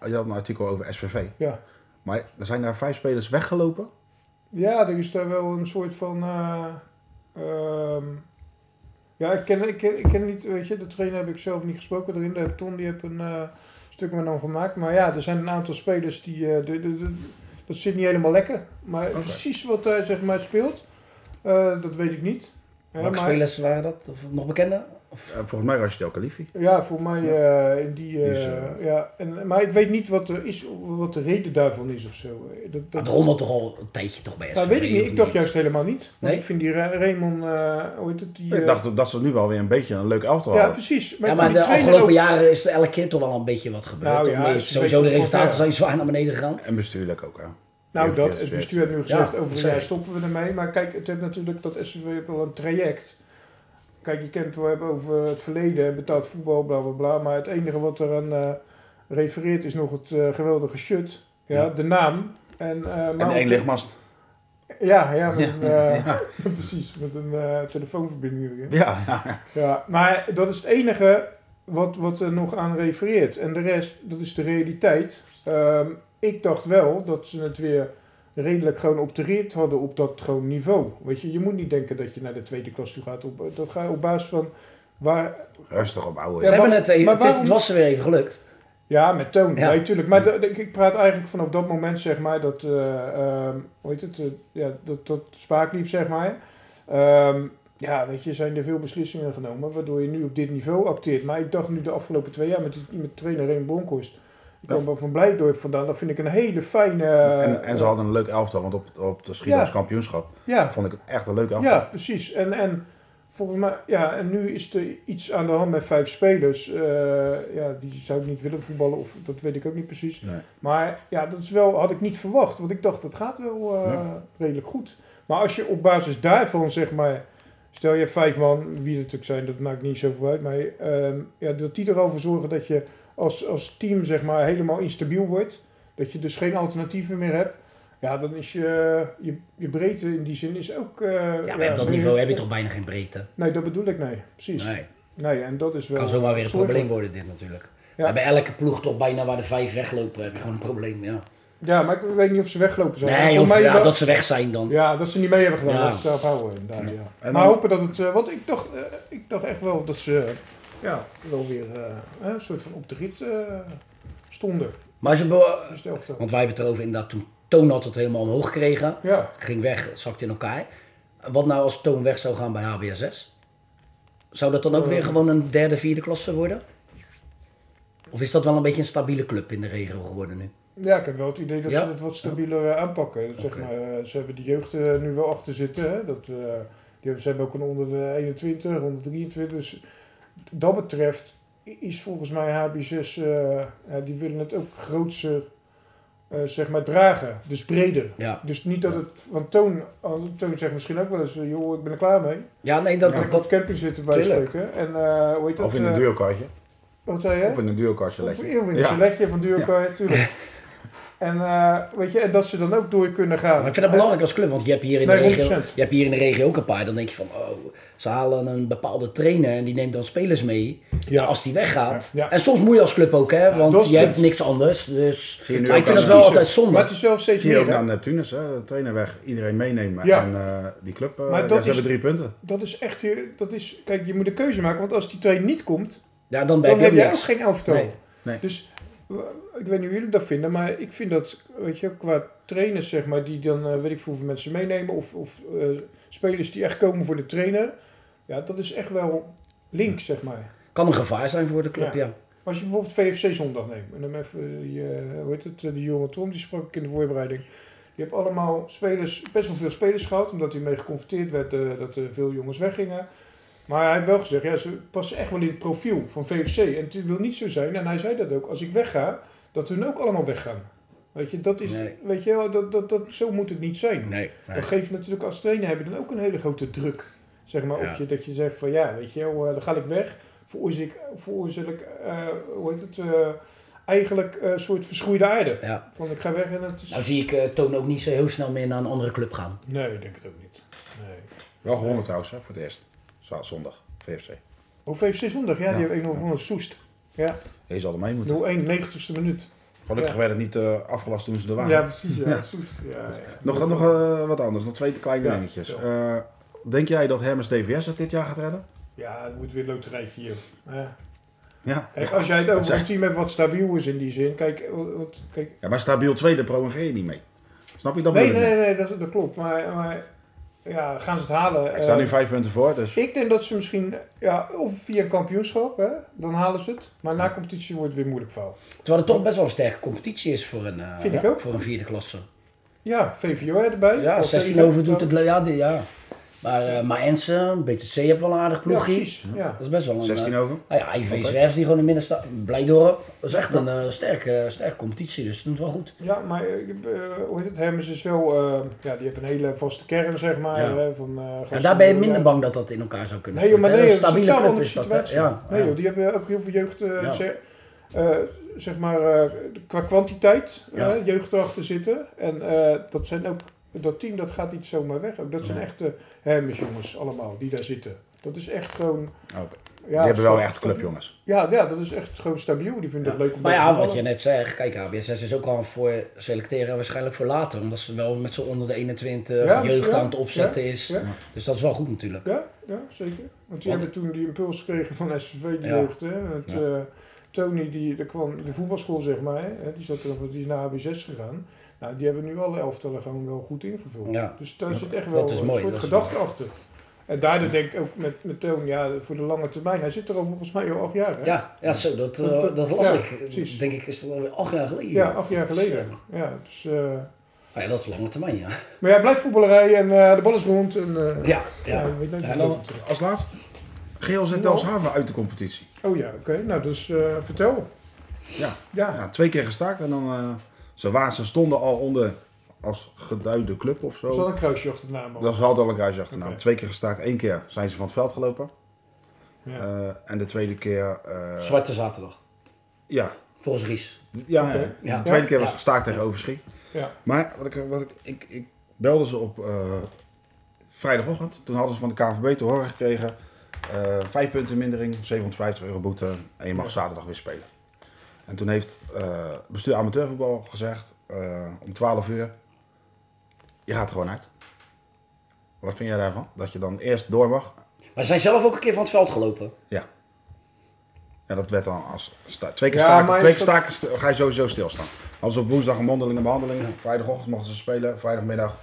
[SPEAKER 2] eh, je had een artikel over SVV.
[SPEAKER 3] Ja,
[SPEAKER 2] Maar er zijn daar vijf spelers weggelopen.
[SPEAKER 3] ja er is daar wel een soort van... eh, ehm, ja, ik ken, ik, ken, ik ken niet, weet je, de trainer heb ik zelf niet gesproken erin. De heb Ton, die heb een eh, stuk met hem gemaakt. Maar ja, er zijn een aantal spelers die... eh, de, de, de- dat zit niet helemaal lekker. Maar precies wat daar zeg maar speelt, eh, dat weet ik niet. Ja,
[SPEAKER 4] welke
[SPEAKER 3] maar-
[SPEAKER 4] spelers waren dat? Of nog bekende?
[SPEAKER 2] Eh, volgens mij was het El Khalifi.
[SPEAKER 3] Ja, voor mij eh, in die. eh,
[SPEAKER 2] Die is, eh,
[SPEAKER 3] ja, en, maar ik weet niet wat, er is, wat de reden daarvan is of zo. Dat,
[SPEAKER 4] Dat
[SPEAKER 3] dat,
[SPEAKER 4] Ah, rommelt toch al een tijdje toch bij SVV?
[SPEAKER 3] nou, weet ik niet.
[SPEAKER 4] of
[SPEAKER 3] Ik dacht juist helemaal niet. Want
[SPEAKER 4] Nee?
[SPEAKER 3] ik vind die Ra- Raymond. eh hoe heet het? Die,
[SPEAKER 2] Ik
[SPEAKER 3] eh,
[SPEAKER 2] dacht dat ze nu wel weer een beetje een leuk elftal
[SPEAKER 3] ja,
[SPEAKER 2] hadden.
[SPEAKER 3] precies.
[SPEAKER 4] Ja,
[SPEAKER 3] ik
[SPEAKER 4] maar
[SPEAKER 3] vind
[SPEAKER 4] de
[SPEAKER 3] die trainer
[SPEAKER 4] afgelopen
[SPEAKER 3] ook-
[SPEAKER 4] jaren is er elke keer toch wel een beetje wat gebeurd.
[SPEAKER 3] Nou
[SPEAKER 4] toch?
[SPEAKER 3] ja,
[SPEAKER 4] Nee,
[SPEAKER 3] het is een eh,
[SPEAKER 4] sowieso, de
[SPEAKER 3] beetje
[SPEAKER 4] resultaten
[SPEAKER 3] van,
[SPEAKER 4] zijn zwaar naar beneden gegaan.
[SPEAKER 2] En bestuurlijk ook, hè.
[SPEAKER 3] Nou,
[SPEAKER 2] Jeugd-
[SPEAKER 3] dat. Het bestuur heeft nu
[SPEAKER 4] Ja,
[SPEAKER 3] gezegd: over een
[SPEAKER 4] sorry.
[SPEAKER 3] jaar stoppen we ermee. Maar kijk, het heeft natuurlijk dat SCV heeft wel een traject. Kijk, je kent het wel hebben over het verleden en betaald voetbal, bla bla bla. Maar het enige wat eraan eh refereert is nog het eh, geweldige shut. Ja,
[SPEAKER 2] Ja.
[SPEAKER 3] de naam. En, eh, maar
[SPEAKER 2] En één lichtmast.
[SPEAKER 3] Ja, ja, met een, eh, precies, met een eh, telefoonverbinding. weer.
[SPEAKER 2] Ja, ja.
[SPEAKER 3] Ja, maar dat is het enige wat, wat er nog aan refereert. En de rest, dat is de realiteit. Ehm, ik dacht wel dat ze het weer redelijk gewoon op de rit hadden op dat gewoon niveau. Weet je, je moet niet denken dat je naar de tweede klas toe gaat. Op, eh, dat ga je op basis van waar...
[SPEAKER 2] Rustig opbouwen.
[SPEAKER 4] Ze
[SPEAKER 3] Ja,
[SPEAKER 4] hebben
[SPEAKER 3] maar-
[SPEAKER 4] het, even,
[SPEAKER 3] maar
[SPEAKER 4] het, is- het
[SPEAKER 3] waarom-
[SPEAKER 4] was ze weer even gelukt.
[SPEAKER 3] Ja, met toon.
[SPEAKER 4] Ja.
[SPEAKER 3] Ja, natuurlijk. Maar dat- ik, ik praat eigenlijk vanaf dat moment, zeg maar, dat... eh, ehm, hoe heet het? eh, ja, dat, dat spaak liep, zeg maar. Ehm, ja, weet je, zijn er veel beslissingen genomen, waardoor je nu op dit niveau acteert. Maar ik dacht nu de afgelopen twee jaar met, die- met trainer René Bronkhorst. Ik kwam wel van Blijdorp vandaan. Dat vind ik een hele fijne... eh,
[SPEAKER 2] en, en ze hadden een leuk elftal, want op, op de Schiedam's kampioenschap
[SPEAKER 3] ja,
[SPEAKER 2] vond ik het echt een leuk elftal.
[SPEAKER 3] ja, precies. En, en volgens mij, ja, en nu is er iets aan de hand met vijf spelers. Eh, ja, die zou ik niet willen voetballen, of dat weet ik ook niet precies.
[SPEAKER 2] Nee.
[SPEAKER 3] Maar ja, dat is wel, had ik niet verwacht, want ik dacht dat gaat wel eh, redelijk goed. Maar als je op basis daarvan zeg maar, stel je hebt vijf man, wie het natuurlijk zijn, dat maakt niet zoveel uit. Maar ehm, ja, dat die erover zorgen dat je als, als team zeg maar helemaal instabiel wordt, dat je dus geen alternatieven meer hebt. Ja, dan is je, je, je breedte in die zin is ook... eh,
[SPEAKER 4] Ja, maar op dat niveau heb je toch bijna geen breedte.
[SPEAKER 3] Nee, dat bedoel ik, nee. Precies. Nee,
[SPEAKER 4] Nee,
[SPEAKER 3] en dat is wel...
[SPEAKER 4] kan zomaar weer een
[SPEAKER 3] zorgelijk.
[SPEAKER 4] probleem worden dit natuurlijk.
[SPEAKER 3] Ja.
[SPEAKER 4] Maar bij elke ploeg toch bijna waar de vijf weglopen heb je gewoon een probleem, ja.
[SPEAKER 3] Ja, maar ik weet niet of ze weglopen zijn.
[SPEAKER 4] Nee,
[SPEAKER 3] Voor
[SPEAKER 4] of
[SPEAKER 3] mij
[SPEAKER 4] ja,
[SPEAKER 3] wel-
[SPEAKER 4] dat ze weg zijn dan.
[SPEAKER 3] Ja, dat ze niet mee hebben gedaan.
[SPEAKER 4] Ja.
[SPEAKER 3] Dat ze het afhouden, inderdaad. Ja.
[SPEAKER 2] En
[SPEAKER 3] maar
[SPEAKER 2] dan-
[SPEAKER 3] hopen dat het... eh, want ik dacht, eh, ik dacht echt wel dat ze eh, ja, wel weer eh, een soort van op de rit eh, stonden.
[SPEAKER 4] Maar ze be-
[SPEAKER 3] Dus de elftal.
[SPEAKER 4] want wij hebben het erover inderdaad toen Toon had het helemaal omhoog gekregen.
[SPEAKER 3] Ja,
[SPEAKER 4] Ging weg, het zakte in elkaar. Wat nou als Toon weg zou gaan bij HBSS? Zou dat dan ook
[SPEAKER 3] Eh.
[SPEAKER 4] weer gewoon een derde, vierde klasse worden? Of is dat wel een beetje een stabiele club in de regio geworden nu?
[SPEAKER 3] ja, ik heb wel het idee dat
[SPEAKER 4] Ja.
[SPEAKER 3] ze het wat stabieler eh, aanpakken. Zeg
[SPEAKER 4] Oké.
[SPEAKER 3] maar, eh, ze hebben de jeugd eh, nu wel achter zitten. Hè? Dat, eh, die hebben, ze hebben ook een onder de 21, onder 23. Dus dat betreft is volgens mij HB6, eh, ja, die willen het ook grootser eh, zeg maar dragen, dus breder.
[SPEAKER 4] Ja.
[SPEAKER 3] Dus niet dat het, want Toon, oh, Toon zegt misschien ook wel eens, eh, joh, ik ben er klaar mee.
[SPEAKER 4] Ja, nee, dat,
[SPEAKER 3] Dat ik
[SPEAKER 4] dat,
[SPEAKER 3] wat camping zitten bij
[SPEAKER 4] Tuurlijk.
[SPEAKER 3] steken. En eh, hoe heet dat?
[SPEAKER 2] Of in een
[SPEAKER 3] eh,
[SPEAKER 2] duurkartje.
[SPEAKER 3] Wat zei je?
[SPEAKER 2] Of in een duurkartje
[SPEAKER 3] Of
[SPEAKER 2] leggen.
[SPEAKER 3] eeuw in een
[SPEAKER 2] Ja.
[SPEAKER 3] selectje van duurkaart, tuurlijk. En, eh, weet je, en dat ze dan ook door kunnen gaan.
[SPEAKER 4] Maar ik vind dat belangrijk als club, want je hebt hier in de,
[SPEAKER 3] Nee,
[SPEAKER 4] regio,
[SPEAKER 3] 100%.
[SPEAKER 4] je hebt hier in de regio ook een paar. Dan denk je van, oh, ze halen een bepaalde trainer en die neemt dan spelers mee.
[SPEAKER 3] Ja.
[SPEAKER 4] En als die weggaat.
[SPEAKER 3] Ja. Ja.
[SPEAKER 4] En soms moet je als club ook, hè,
[SPEAKER 3] dat
[SPEAKER 4] want
[SPEAKER 3] is
[SPEAKER 4] je
[SPEAKER 3] het.
[SPEAKER 4] hebt niks anders. Dus,
[SPEAKER 2] Zie je nu
[SPEAKER 4] maar
[SPEAKER 2] ook
[SPEAKER 4] ik vind
[SPEAKER 2] aan
[SPEAKER 4] dat
[SPEAKER 2] de
[SPEAKER 4] wel
[SPEAKER 2] kiezer.
[SPEAKER 4] altijd
[SPEAKER 3] Maar
[SPEAKER 4] zonde.
[SPEAKER 3] het is wel steeds
[SPEAKER 2] Zie je ook
[SPEAKER 3] meer. hè?
[SPEAKER 2] naar Neptunus, hè? de trainer weg. Iedereen meenemen.
[SPEAKER 3] Ja.
[SPEAKER 2] En eh, die club, eh,
[SPEAKER 3] Maar
[SPEAKER 2] ja,
[SPEAKER 3] dat
[SPEAKER 2] ze hebben
[SPEAKER 3] is-
[SPEAKER 2] drie punten.
[SPEAKER 3] Dat is echt weer, dat is, kijk, je moet een keuze maken, want als die trein niet komt,
[SPEAKER 4] Ja, dan ben
[SPEAKER 3] dan
[SPEAKER 4] je
[SPEAKER 3] heb je ook
[SPEAKER 4] niks.
[SPEAKER 3] geen elftal.
[SPEAKER 4] Nee.
[SPEAKER 2] Nee.
[SPEAKER 3] Dus w- ik weet niet hoe jullie dat vinden, maar ik vind dat, weet je, qua trainers, zeg maar, die dan, eh, weet ik veel hoeveel mensen meenemen, of, of eh, spelers die echt komen voor de trainer, ja, dat is echt wel links, zeg maar.
[SPEAKER 4] Kan een gevaar zijn voor de club,
[SPEAKER 3] Ja.
[SPEAKER 4] ja.
[SPEAKER 3] Als je bijvoorbeeld VFC zondag neemt, en dan even, eh, die, eh, hoe heet het, eh, die jonge Tom, die sprak ik in de voorbereiding. Je hebt allemaal spelers, best wel veel spelers gehad, omdat hij mee geconfronteerd werd eh, dat er veel jongens weggingen. Maar hij heeft wel gezegd, ja, ze passen echt wel in het profiel van VFC. En het wil niet zo zijn, en hij zei dat ook, als ik wegga, dat hun ook allemaal weggaan. Weet je, dat is,
[SPEAKER 4] Nee.
[SPEAKER 3] weet je, wel, dat, dat, dat, zo moet het niet zijn.
[SPEAKER 4] Nee.
[SPEAKER 3] Dat geeft natuurlijk als trainer heb je dan ook een hele grote druk. Zeg maar,
[SPEAKER 4] Ja.
[SPEAKER 3] op je, dat je zegt van ja, weet je wel, eh, dan ga ik weg. Veroorzaak ik, veroorzaak ik eh, hoe heet het, eh, eigenlijk eh, een soort verschroeide aarde.
[SPEAKER 4] Ja.
[SPEAKER 3] Van ik ga weg en het is...
[SPEAKER 4] Nou zie ik eh, Toon ook niet zo heel snel meer naar een andere club gaan.
[SPEAKER 3] Nee, ik denk het ook niet. Nee.
[SPEAKER 2] Wel gewonnen trouwens, hè, voor het eerst. Za- Zondag, VFC.
[SPEAKER 3] Hoe VFC zondag? Ja, die hebben 1 van Soest. Ja, 0-1,
[SPEAKER 2] Deze hadden mee moeten.
[SPEAKER 3] 90ste minuut.
[SPEAKER 2] Gelukkig
[SPEAKER 3] Ja.
[SPEAKER 2] werd het niet eh, afgelast toen ze er waren.
[SPEAKER 3] Ja, precies. Ja, Soest. Ja, ja.
[SPEAKER 2] Nog, nog eh, wat anders, nog twee kleine
[SPEAKER 3] Ja,
[SPEAKER 2] dingetjes.
[SPEAKER 3] ja.
[SPEAKER 2] Eh, denk jij dat Hermes DVS het dit jaar gaat redden?
[SPEAKER 3] ja, het wordt weer een loterijtje hier. Ja.
[SPEAKER 2] Ja.
[SPEAKER 3] Kijk, als jij het over
[SPEAKER 2] zijn-
[SPEAKER 3] een team hebt wat stabiel is in die zin. Kijk, wat, wat- kijk
[SPEAKER 2] ja maar stabiel tweede promoveer je niet mee. Snap je dat?
[SPEAKER 3] Nee,
[SPEAKER 2] bedoel ik
[SPEAKER 3] nee,
[SPEAKER 2] niet.
[SPEAKER 3] nee, dat, dat klopt. Maar, maar ja, gaan ze het halen?
[SPEAKER 2] Ik sta nu
[SPEAKER 3] Eh,
[SPEAKER 2] vijf punten voor, dus
[SPEAKER 3] ik denk dat ze misschien, ja, of via een kampioenschap, hè, dan halen ze het. Maar na competitie wordt het weer moeilijk fout.
[SPEAKER 4] Terwijl het toch best wel een sterke competitie is voor een, eh,
[SPEAKER 3] Vind ik ook.
[SPEAKER 4] Voor een vierde klasse.
[SPEAKER 3] Ja, VVO erbij.
[SPEAKER 4] Ja,
[SPEAKER 3] Of
[SPEAKER 4] 16
[SPEAKER 3] tegen-
[SPEAKER 4] over doet het... le- Ja, die- ja. Maar, eh maar Ensen, BTC heeft wel een aardig
[SPEAKER 3] Ja,
[SPEAKER 4] ploegje.
[SPEAKER 3] precies. Ja.
[SPEAKER 4] Dat is best wel een...
[SPEAKER 2] 16
[SPEAKER 4] eh,
[SPEAKER 2] over.
[SPEAKER 4] Nou ja, IV Zwerfs die gewoon in midden staat. Blijdorp. Dat is echt een eh, sterke, sterke competitie, dus het doet wel goed.
[SPEAKER 3] ja, maar eh, eh, hoe heet het? Hermes is wel, eh, ja, die hebben een hele vaste kern, zeg maar.
[SPEAKER 2] Ja.
[SPEAKER 3] hè, van, eh,
[SPEAKER 4] Ja,
[SPEAKER 3] gasten
[SPEAKER 4] daar ben je
[SPEAKER 3] die-
[SPEAKER 4] minder
[SPEAKER 3] ja.
[SPEAKER 4] bang dat dat in elkaar zou kunnen
[SPEAKER 3] Nee, joh, maar
[SPEAKER 4] storten,
[SPEAKER 3] nee,
[SPEAKER 4] hè.
[SPEAKER 3] dat is
[SPEAKER 4] een
[SPEAKER 3] totaal
[SPEAKER 4] stabiele
[SPEAKER 3] andere
[SPEAKER 4] club is dat, hè.
[SPEAKER 3] situatie.
[SPEAKER 4] Ja,
[SPEAKER 3] nee,
[SPEAKER 4] ja.
[SPEAKER 3] joh, die hebben ook heel veel jeugd, eh,
[SPEAKER 2] Ja.
[SPEAKER 3] ze- eh, zeg maar, eh, qua kwantiteit,
[SPEAKER 2] Ja.
[SPEAKER 3] eh, jeugd erachter zitten. En eh, dat zijn ook, dat team dat gaat niet zomaar weg. Ook dat zijn echte Hermes jongens allemaal, die daar zitten. Dat is echt gewoon...
[SPEAKER 2] Oh, Oké.
[SPEAKER 3] Ja,
[SPEAKER 2] die hebben wel
[SPEAKER 3] stabiel.
[SPEAKER 2] echt clubjongens.
[SPEAKER 3] Ja, ja, dat is echt gewoon stabiel. Die vinden het leuk om
[SPEAKER 4] Maar
[SPEAKER 3] bij te
[SPEAKER 4] ja, wat
[SPEAKER 3] voetballen.
[SPEAKER 4] je net zegt, kijk, HBSS is ook al voor selecteren waarschijnlijk voor later. Omdat ze wel met z'n onder de 21
[SPEAKER 3] Ja, dus
[SPEAKER 4] jeugd
[SPEAKER 3] ja,
[SPEAKER 4] aan het opzetten is.
[SPEAKER 3] ja.
[SPEAKER 4] Dus dat is wel goed natuurlijk.
[SPEAKER 3] Ja, ja, zeker. Want die
[SPEAKER 4] Want-
[SPEAKER 3] hebben toen die impuls gekregen van SVV, die
[SPEAKER 4] Ja.
[SPEAKER 3] jeugd. Hè? Het,
[SPEAKER 2] Ja.
[SPEAKER 3] eh, Tony, die, die kwam in de voetbalschool, zeg maar. Hè? Die, zat er, die is naar HB6 gegaan. Nou, die hebben nu alle elftallen gewoon wel goed ingevuld.
[SPEAKER 4] Ja.
[SPEAKER 3] Dus daar
[SPEAKER 2] Ja,
[SPEAKER 3] zit echt wel
[SPEAKER 4] dat is
[SPEAKER 3] een
[SPEAKER 4] mooi,
[SPEAKER 3] soort
[SPEAKER 4] dat is
[SPEAKER 3] gedachte achter. En daardoor denk ik ook met, met Toon, ja, voor de lange termijn. Hij zit er al volgens mij al acht jaar, hè?
[SPEAKER 4] Ja, ja zo, dat, eh,
[SPEAKER 3] Dat-
[SPEAKER 4] dat,
[SPEAKER 3] dat-
[SPEAKER 4] las
[SPEAKER 3] ja,
[SPEAKER 4] ik.
[SPEAKER 3] precies.
[SPEAKER 4] Denk ik, is het alweer acht jaar geleden.
[SPEAKER 3] Ja, acht jaar geleden. Ja, dus, eh,
[SPEAKER 4] Ah ja, dat is lange termijn, ja.
[SPEAKER 3] maar ja, blijf voetballerij en eh, de bal is rond. En, eh,
[SPEAKER 4] Ja,
[SPEAKER 3] ja,
[SPEAKER 4] ja.
[SPEAKER 3] je weet nooit
[SPEAKER 4] Ja,
[SPEAKER 3] wat
[SPEAKER 4] dan-
[SPEAKER 3] loopt.
[SPEAKER 2] Als laatst, GLZ Delshaven uit de competitie.
[SPEAKER 3] Oh ja, oké. Nou, dus eh, vertel.
[SPEAKER 2] Ja.
[SPEAKER 3] Ja,
[SPEAKER 2] ja, twee keer gestaakt en dan... eh, ze, waren, ze stonden al onder als geduide club of zo.
[SPEAKER 3] er is wel een kruisje achter de naam. al.
[SPEAKER 2] Dat is altijd al een kruisje achternaam.
[SPEAKER 3] Oké.
[SPEAKER 2] Nou, Twee keer gestaakt, één keer zijn ze van het veld gelopen.
[SPEAKER 3] Ja.
[SPEAKER 2] Eh, en de tweede keer... eh,
[SPEAKER 4] Zwarte zaterdag.
[SPEAKER 2] ja,
[SPEAKER 4] Volgens Ries.
[SPEAKER 2] ja,
[SPEAKER 3] Oké.
[SPEAKER 2] ja.
[SPEAKER 4] Ja.
[SPEAKER 2] de tweede keer was
[SPEAKER 4] Ja.
[SPEAKER 2] gestaakt tegen Overschie.
[SPEAKER 3] ja.
[SPEAKER 2] Maar wat ik, wat ik, ik, ik belde ze op eh, vrijdagochtend. Toen hadden ze van de KNVB te horen gekregen... eh, vijf punten mindering, 750 euro boete en je mag zaterdag weer spelen. En toen heeft eh, bestuur amateurvoetbal gezegd eh, om 12 uur... Je gaat er gewoon uit. Wat vind jij daarvan? Dat je dan eerst door mag
[SPEAKER 4] Maar ze zijn zelf ook een keer van het veld gelopen.
[SPEAKER 2] Ja. Ja, dat werd dan als sta- twee keer
[SPEAKER 3] Ja,
[SPEAKER 2] staken.
[SPEAKER 3] maar
[SPEAKER 2] twee
[SPEAKER 3] is
[SPEAKER 2] keer staken st- ga je sowieso stilstaan. Als op woensdag een mondelinge behandeling, vrijdagochtend mochten ze spelen, vrijdagmiddag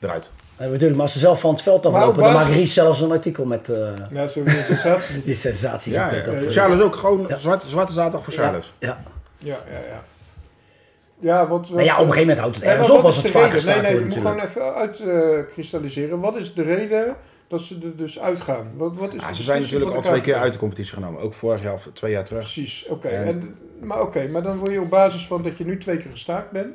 [SPEAKER 2] eruit.
[SPEAKER 4] En natuurlijk, maar als ze zelf van het veld
[SPEAKER 3] Maar op
[SPEAKER 4] aflopen, dan maakt
[SPEAKER 3] basis-
[SPEAKER 4] Ries zelfs een artikel met eh,
[SPEAKER 3] Ja, zo weer een sensatie.
[SPEAKER 4] die sensaties.
[SPEAKER 2] Ja,
[SPEAKER 4] op,
[SPEAKER 2] ja,
[SPEAKER 4] dat, eh,
[SPEAKER 2] Charles ook gewoon zwarte, zwarte zaterdag voor
[SPEAKER 4] ja,
[SPEAKER 2] Charles.
[SPEAKER 4] ja.
[SPEAKER 3] Ja, ja, ja. Ja, wat, wat,
[SPEAKER 4] Nou ja, op een gegeven moment houdt het
[SPEAKER 3] Nee, maar
[SPEAKER 4] ergens
[SPEAKER 3] wat
[SPEAKER 4] op als
[SPEAKER 3] is
[SPEAKER 4] het
[SPEAKER 3] de
[SPEAKER 4] vaak
[SPEAKER 3] reden?
[SPEAKER 4] gestaakt
[SPEAKER 3] Nee, nee,
[SPEAKER 4] wordt
[SPEAKER 3] je moet
[SPEAKER 4] natuurlijk.
[SPEAKER 3] gewoon even uitkristalliseren. wat is de reden dat ze er dus uitgaan. Wat, wat is
[SPEAKER 2] Ja,
[SPEAKER 3] de
[SPEAKER 2] ze zijn
[SPEAKER 3] beslissing
[SPEAKER 2] natuurlijk
[SPEAKER 3] van
[SPEAKER 2] al
[SPEAKER 3] de
[SPEAKER 2] twee keer
[SPEAKER 3] KNVB?
[SPEAKER 2] uit de competitie genomen. Ook vorig jaar of twee jaar terug.
[SPEAKER 3] Precies, oké.
[SPEAKER 2] En-
[SPEAKER 3] En- Maar oké, maar dan word je op basis van dat je nu twee keer gestaakt bent,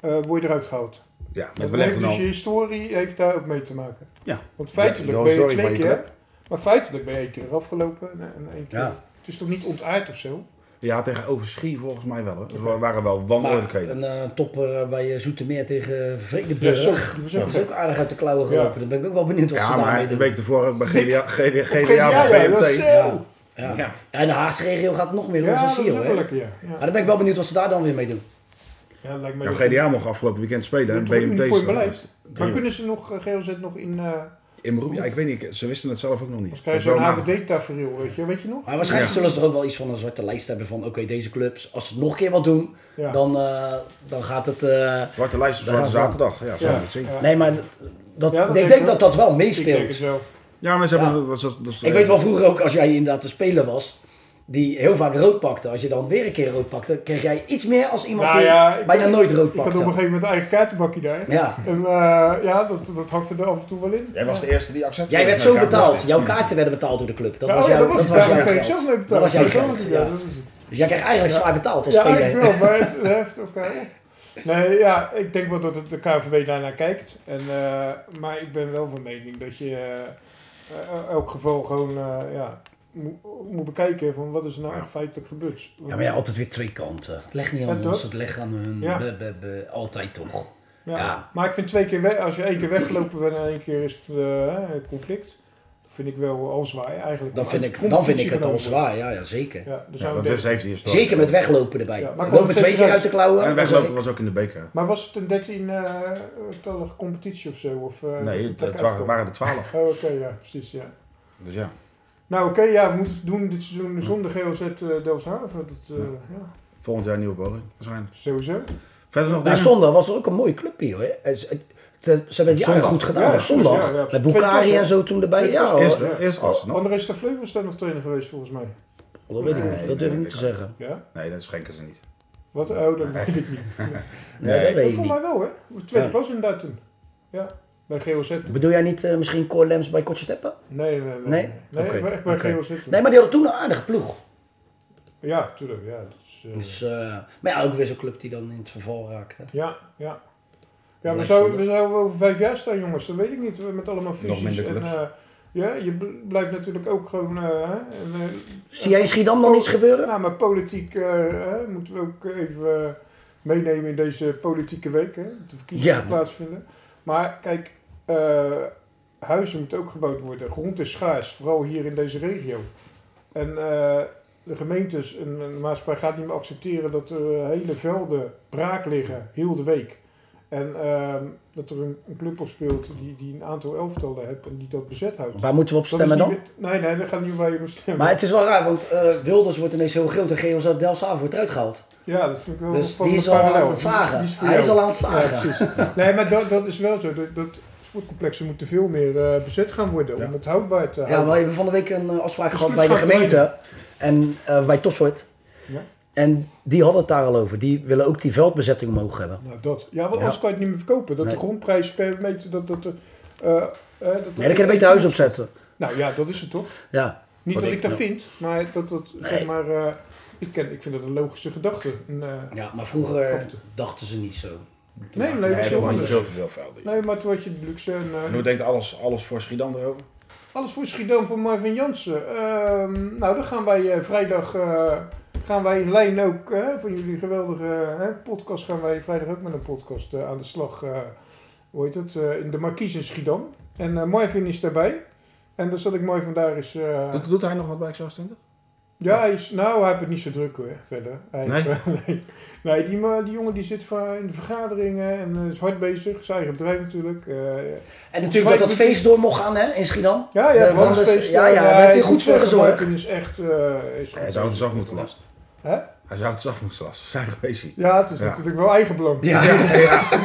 [SPEAKER 3] eh, word je eruit gehaald.
[SPEAKER 2] Ja, met
[SPEAKER 3] Dat
[SPEAKER 2] beleggen
[SPEAKER 3] heeft dus
[SPEAKER 2] al.
[SPEAKER 3] je historie heeft daar ook mee te maken.
[SPEAKER 2] Ja.
[SPEAKER 3] Want feitelijk
[SPEAKER 2] Ja, de
[SPEAKER 3] ben je
[SPEAKER 2] historie
[SPEAKER 3] twee
[SPEAKER 2] van je
[SPEAKER 3] keer,
[SPEAKER 2] club.
[SPEAKER 3] maar feitelijk ben je één keer eraf gelopen en, en één keer.
[SPEAKER 4] Ja.
[SPEAKER 3] Het is toch niet ontaard of zo?
[SPEAKER 2] Ja, tegen Overschie volgens mij wel. Hoor.
[SPEAKER 3] Oké.
[SPEAKER 2] Er waren wel
[SPEAKER 4] Maar
[SPEAKER 2] wanordelijkheden.
[SPEAKER 4] een eh, topper bij eh, Zoetermeer tegen
[SPEAKER 3] Ja,
[SPEAKER 4] Vredeburg.
[SPEAKER 3] zo.
[SPEAKER 4] dat is ook aardig uit de klauwen
[SPEAKER 3] Ja.
[SPEAKER 4] gelopen. Dan ben ik ook wel benieuwd wat
[SPEAKER 2] Ja,
[SPEAKER 4] ze daarmee
[SPEAKER 2] maar
[SPEAKER 4] doen.
[SPEAKER 2] een week tevoren ook bij GDA, GDA,
[SPEAKER 3] ja,
[SPEAKER 2] GDA
[SPEAKER 3] ja,
[SPEAKER 2] bij
[SPEAKER 3] dat is
[SPEAKER 2] BMT.
[SPEAKER 3] zo.
[SPEAKER 4] Ja. Ja. en de Haagse regio gaat nog meer
[SPEAKER 3] Ja,
[SPEAKER 4] los dan
[SPEAKER 3] dat is
[SPEAKER 4] Sio.
[SPEAKER 3] ook
[SPEAKER 4] hè?
[SPEAKER 3] wel
[SPEAKER 4] Maar
[SPEAKER 3] lekker, ja. ja.
[SPEAKER 4] dan ben ik wel benieuwd wat ze daar dan weer mee doen.
[SPEAKER 3] ja lijkt me
[SPEAKER 2] Ja,
[SPEAKER 3] dat-
[SPEAKER 2] GDA mocht afgelopen weekend spelen. En
[SPEAKER 3] dat moet
[SPEAKER 2] BMT
[SPEAKER 3] uniform
[SPEAKER 2] staat
[SPEAKER 3] beleid.
[SPEAKER 2] vast.
[SPEAKER 3] Maar eh, kunnen ze nog, eh, GOZ nog in, eh
[SPEAKER 2] In beroep? Ja, ik weet niet. Ze wisten het zelf ook nog niet.
[SPEAKER 3] als krijg je
[SPEAKER 2] Dat
[SPEAKER 3] zo'n
[SPEAKER 2] is wel na-
[SPEAKER 3] HVD-tafereel, weet je, weet je nog?
[SPEAKER 4] Maar waarschijnlijk
[SPEAKER 2] Ja.
[SPEAKER 4] zullen ze er ook wel iets van een zwarte lijst hebben van... Oké, deze clubs, als ze het nog een keer wat doen,
[SPEAKER 3] Ja.
[SPEAKER 4] dan, eh, dan gaat het... eh,
[SPEAKER 2] Zwarte lijst op Zwarte
[SPEAKER 4] Daar gaan ze
[SPEAKER 2] Zaterdag. Ja, zo
[SPEAKER 3] Ja,
[SPEAKER 2] moet je het zien.
[SPEAKER 3] ja.
[SPEAKER 4] Nee, maar dat,
[SPEAKER 3] Ja, dat
[SPEAKER 4] ik
[SPEAKER 3] denk
[SPEAKER 4] denk
[SPEAKER 3] ik
[SPEAKER 4] dat
[SPEAKER 3] ook.
[SPEAKER 4] dat wel
[SPEAKER 3] Ik denk het
[SPEAKER 4] meespeelt.
[SPEAKER 3] wel.
[SPEAKER 2] Ja, maar ze hebben...
[SPEAKER 4] Ja.
[SPEAKER 2] dat is- dat is-
[SPEAKER 4] Ik weet wel vroeger ook, als jij inderdaad de speler was... Die heel vaak rood pakte. Als je dan weer een keer rood pakte, kreeg jij iets meer als iemand
[SPEAKER 3] Nou
[SPEAKER 4] die
[SPEAKER 3] ja, ik-
[SPEAKER 4] bijna nooit rood
[SPEAKER 3] Ik had op een
[SPEAKER 4] pakte.
[SPEAKER 3] gegeven moment een eigen kaartenbakje daar.
[SPEAKER 4] Ja.
[SPEAKER 3] En eh, ja, dat, dat hakte er af en toe wel in.
[SPEAKER 2] Jij was de eerste die accepteerde.
[SPEAKER 4] Jij werd
[SPEAKER 2] dat
[SPEAKER 4] zo
[SPEAKER 2] elkaar
[SPEAKER 4] betaald.
[SPEAKER 2] moest.
[SPEAKER 4] Jouw kaarten werden betaald door de club. Dat
[SPEAKER 3] Ja,
[SPEAKER 4] was
[SPEAKER 3] oh ja,
[SPEAKER 4] jouw
[SPEAKER 3] dat was
[SPEAKER 4] dat
[SPEAKER 3] het.
[SPEAKER 4] was
[SPEAKER 3] Daarom
[SPEAKER 4] jouw
[SPEAKER 3] kreeg ik
[SPEAKER 4] geld.
[SPEAKER 3] zelf mee betaald.
[SPEAKER 4] Dat was jouw
[SPEAKER 3] Ja,
[SPEAKER 4] geld,
[SPEAKER 3] dat is
[SPEAKER 4] ja.
[SPEAKER 3] het.
[SPEAKER 4] Dus jij kreeg eigenlijk zwaar betaald als
[SPEAKER 3] Ja,
[SPEAKER 4] speler.
[SPEAKER 3] eigenlijk wel, maar het heft elkaar op. Nee, ja, ik denk wel dat het de KVB daarnaar kijkt. En, eh, maar ik ben wel van mening dat je eh, eh, elk geval gewoon eh, ja, moet, moet bekijken van wat is er nou echt feitelijk gebeurd.
[SPEAKER 4] Ja, maar ja, altijd weer twee kanten. Het legt niet
[SPEAKER 3] Ja,
[SPEAKER 4] aan
[SPEAKER 3] toch?
[SPEAKER 4] ons, het legt aan hun.
[SPEAKER 3] Ja.
[SPEAKER 4] Be- be- be- altijd toch.
[SPEAKER 3] Ja.
[SPEAKER 4] Ja.
[SPEAKER 3] Maar ik vind twee keer, we- als je één keer weggelopen bent en één keer is het eh, conflict, vind ik wel al zwaar eigenlijk.
[SPEAKER 4] Dan
[SPEAKER 3] Om
[SPEAKER 4] vind
[SPEAKER 3] uit de
[SPEAKER 4] ik, dan vind ik
[SPEAKER 3] competitie
[SPEAKER 4] het al
[SPEAKER 3] genomen worden.
[SPEAKER 4] zwaar, ja, ja zeker.
[SPEAKER 3] Ja, dus
[SPEAKER 2] Ja,
[SPEAKER 3] zou
[SPEAKER 2] dat
[SPEAKER 3] ik
[SPEAKER 2] dus
[SPEAKER 3] denken-
[SPEAKER 2] heeft hij een story.
[SPEAKER 4] Zeker met weglopen erbij.
[SPEAKER 3] Ja, maar
[SPEAKER 4] maar
[SPEAKER 3] kwam
[SPEAKER 4] Lopen
[SPEAKER 3] het
[SPEAKER 4] twee
[SPEAKER 3] zeker
[SPEAKER 4] keer
[SPEAKER 3] uit.
[SPEAKER 4] uit de klauwen.
[SPEAKER 2] En
[SPEAKER 4] dan
[SPEAKER 2] weglopen
[SPEAKER 4] zeg ik-
[SPEAKER 2] was ook in de beker.
[SPEAKER 3] Maar was het een 13-tallige competitie of zo? Of, eh, dat
[SPEAKER 2] Nee,
[SPEAKER 3] het daar
[SPEAKER 2] het waren
[SPEAKER 3] uitkwam?
[SPEAKER 2] waren er twaalf.
[SPEAKER 3] Oh, oké, ja, precies, ja.
[SPEAKER 2] Dus ja.
[SPEAKER 3] Nou oké, ja, we moeten het doen dit seizoen zonder GOZ eh Delfshaven. Dat, eh, ja,
[SPEAKER 2] Volgend jaar een nieuwe poging. Waarschijnlijk.
[SPEAKER 3] sowieso.
[SPEAKER 2] Verder nog
[SPEAKER 4] Nou,
[SPEAKER 2] dingen?
[SPEAKER 4] zondag was er ook een mooie club hier. Hoor. En Ze ze- ze hebben het jaren
[SPEAKER 2] Zondag.
[SPEAKER 4] goed gedaan.
[SPEAKER 3] Ja,
[SPEAKER 4] op zondag.
[SPEAKER 3] ja, ja,
[SPEAKER 4] met
[SPEAKER 3] twee
[SPEAKER 4] Bukari
[SPEAKER 3] klassen.
[SPEAKER 4] en zo toen erbij.
[SPEAKER 3] Twee
[SPEAKER 4] Ja,
[SPEAKER 3] klassen.
[SPEAKER 4] hoor. Oh,
[SPEAKER 2] Eerst, eerst Assen nog.
[SPEAKER 3] André Fleu was daar nog trainer geweest volgens mij.
[SPEAKER 4] dat weet ik
[SPEAKER 2] Nee,
[SPEAKER 4] niet. Dat durf ik
[SPEAKER 2] nee,
[SPEAKER 4] niet te zeggen.
[SPEAKER 3] Ja?
[SPEAKER 2] Nee, dat schenken ze niet.
[SPEAKER 3] Wat? Oh, dat weet ik niet.
[SPEAKER 4] Nee,
[SPEAKER 2] Nee.
[SPEAKER 4] dat
[SPEAKER 3] Dat
[SPEAKER 4] weet ik
[SPEAKER 3] vond
[SPEAKER 4] niet.
[SPEAKER 3] mij wel, hè? Tweede
[SPEAKER 4] Ja.
[SPEAKER 3] klas inderdaad toen. Ja, bij GOZ toen.
[SPEAKER 4] Bedoel jij niet eh, misschien Cor Lems bij Kotscheteppen?
[SPEAKER 3] Nee, nee, nee.
[SPEAKER 4] Nee?
[SPEAKER 3] Nee,
[SPEAKER 4] Oké,
[SPEAKER 3] maar echt bij
[SPEAKER 4] oké.
[SPEAKER 3] GOZ toen.
[SPEAKER 4] Nee, maar die hadden toen een aardige ploeg.
[SPEAKER 3] Ja, tuurlijk, ja. Dat is, eh,
[SPEAKER 4] Dus, eh, maar ja, ook weer zo'n club die dan in het verval raakte.
[SPEAKER 3] Ja, ja. Ja, we
[SPEAKER 4] Blijf
[SPEAKER 3] zouden, we
[SPEAKER 4] zonde.
[SPEAKER 3] zouden over vijf jaar staan, jongens. Dat weet ik niet. Met allemaal fusies.
[SPEAKER 2] minder
[SPEAKER 3] en,
[SPEAKER 2] clubs.
[SPEAKER 3] eh, ja, je bl- blijft natuurlijk ook gewoon... eh, hè, en, eh,
[SPEAKER 4] Zie jij in Schiedam dan iets gebeuren?
[SPEAKER 3] Nou, maar politiek eh, hè, moeten we ook even eh, meenemen in deze politieke week. Hè? De verkiezingen
[SPEAKER 4] Ja.
[SPEAKER 3] die plaatsvinden. Maar kijk, eh, huizen moeten ook gebouwd worden. Grond is schaars, vooral hier in deze regio. En eh, de gemeentes en en de maatschappij gaat niet meer accepteren dat er eh, hele velden braak liggen, heel de week. En ehm, dat er een, een club op speelt die, die een aantal elftallen heeft en die dat bezet houdt.
[SPEAKER 4] Waar moeten we op
[SPEAKER 3] Dat is
[SPEAKER 4] stemmen
[SPEAKER 3] niet
[SPEAKER 4] dan?
[SPEAKER 3] meer- nee, nee, dat gaat niet waar je moet stemmen.
[SPEAKER 4] Maar het is wel raar, want eh, Wilders wordt ineens heel groot en GOZ Delfshaven wordt eruit gehaald.
[SPEAKER 3] Ja, dat vind ik wel
[SPEAKER 4] Dus
[SPEAKER 3] van
[SPEAKER 4] die
[SPEAKER 3] de
[SPEAKER 4] is al aan
[SPEAKER 3] parallel.
[SPEAKER 4] het zagen.
[SPEAKER 3] Die is voor
[SPEAKER 4] Hij is
[SPEAKER 3] jou.
[SPEAKER 4] al aan het zagen.
[SPEAKER 3] Ja, precies. nee, maar dat, dat is wel zo. Dat, dat sportcomplexen moeten veel meer eh, bezet gaan worden
[SPEAKER 2] Ja.
[SPEAKER 3] om het houdbaar te
[SPEAKER 4] Ja,
[SPEAKER 3] houden.
[SPEAKER 4] we hebben van de week een eh, afspraak
[SPEAKER 3] Dus
[SPEAKER 4] gehad
[SPEAKER 3] Guus
[SPEAKER 4] bij de
[SPEAKER 3] gaat trainen.
[SPEAKER 4] gemeente. En eh, bij Topsport.
[SPEAKER 3] Ja.
[SPEAKER 4] En die hadden het daar al over. Die willen ook die veldbezetting mogen hebben.
[SPEAKER 3] Nou, dat. Ja, want
[SPEAKER 4] Ja.
[SPEAKER 3] anders kan je het niet meer verkopen. Dat
[SPEAKER 4] Nee.
[SPEAKER 3] de grondprijs per meter... Dat, dat, eh, eh, eh, dat
[SPEAKER 4] Nee, dan kan je beter huis opzetten.
[SPEAKER 3] Nou ja, dat is het toch?
[SPEAKER 4] Ja.
[SPEAKER 3] Niet
[SPEAKER 2] Wat
[SPEAKER 3] dat
[SPEAKER 2] ik-
[SPEAKER 3] ik dat
[SPEAKER 2] ja.
[SPEAKER 3] vind, maar dat dat, zeg maar... eh, ik, ken, ik vind dat een logische gedachte. Een, eh,
[SPEAKER 4] ja, maar vroeger
[SPEAKER 3] Klopt.
[SPEAKER 4] dachten ze niet zo.
[SPEAKER 3] nee, nee,
[SPEAKER 2] Nee,
[SPEAKER 3] dat is
[SPEAKER 2] veel
[SPEAKER 3] heel
[SPEAKER 2] te
[SPEAKER 3] anders.
[SPEAKER 2] veel te veel velden.
[SPEAKER 3] Nee, maar toen had je de luxe en... eh,
[SPEAKER 2] En hoe denkt alles, alles voor Schiedam erover?
[SPEAKER 3] Alles voor Schiedam van Marvin Jansen. Ehm, nou, dan gaan wij eh, vrijdag eh, gaan wij in lijn ook eh, van jullie geweldige eh, podcast. Gaan wij vrijdag ook met een podcast eh, aan de slag. eh, hoe heet het? eh, in de Marquise in Schiedam. En eh, Marvin is daarbij. En dan zat ik Marvin daar is. eh,
[SPEAKER 2] Doet, doet hij nog wat bij Xbox 20?
[SPEAKER 3] ja, hij is, nou, hij heeft het niet zo druk hoor, verder. Hij eh,
[SPEAKER 2] Nee?
[SPEAKER 3] nee. Nee, die, ma- die jongen die zit va- in de vergaderingen en eh, is hard bezig. Zijn eigen bedrijf natuurlijk. eh,
[SPEAKER 4] En natuurlijk dat dat feest door mocht gaan hè, in Schiedam.
[SPEAKER 3] ja, ja,
[SPEAKER 4] Eh,
[SPEAKER 3] brandfeest,
[SPEAKER 4] Ja,
[SPEAKER 3] eh,
[SPEAKER 4] ja, daar heeft hij
[SPEAKER 3] ik
[SPEAKER 4] goed
[SPEAKER 3] moet
[SPEAKER 4] voor
[SPEAKER 3] zeggen,
[SPEAKER 4] gezorgd.
[SPEAKER 3] Marvin is echt... eh, is
[SPEAKER 2] Hij
[SPEAKER 3] goed
[SPEAKER 2] zou het
[SPEAKER 3] bezig.
[SPEAKER 2] zelf moeten lasten.
[SPEAKER 3] Hè?
[SPEAKER 2] Hij zou het zelf moeten lasten. Zijn geweest.
[SPEAKER 3] Ja, het is
[SPEAKER 2] Ja.
[SPEAKER 3] natuurlijk wel eigenbelang. Ja.
[SPEAKER 4] Ja,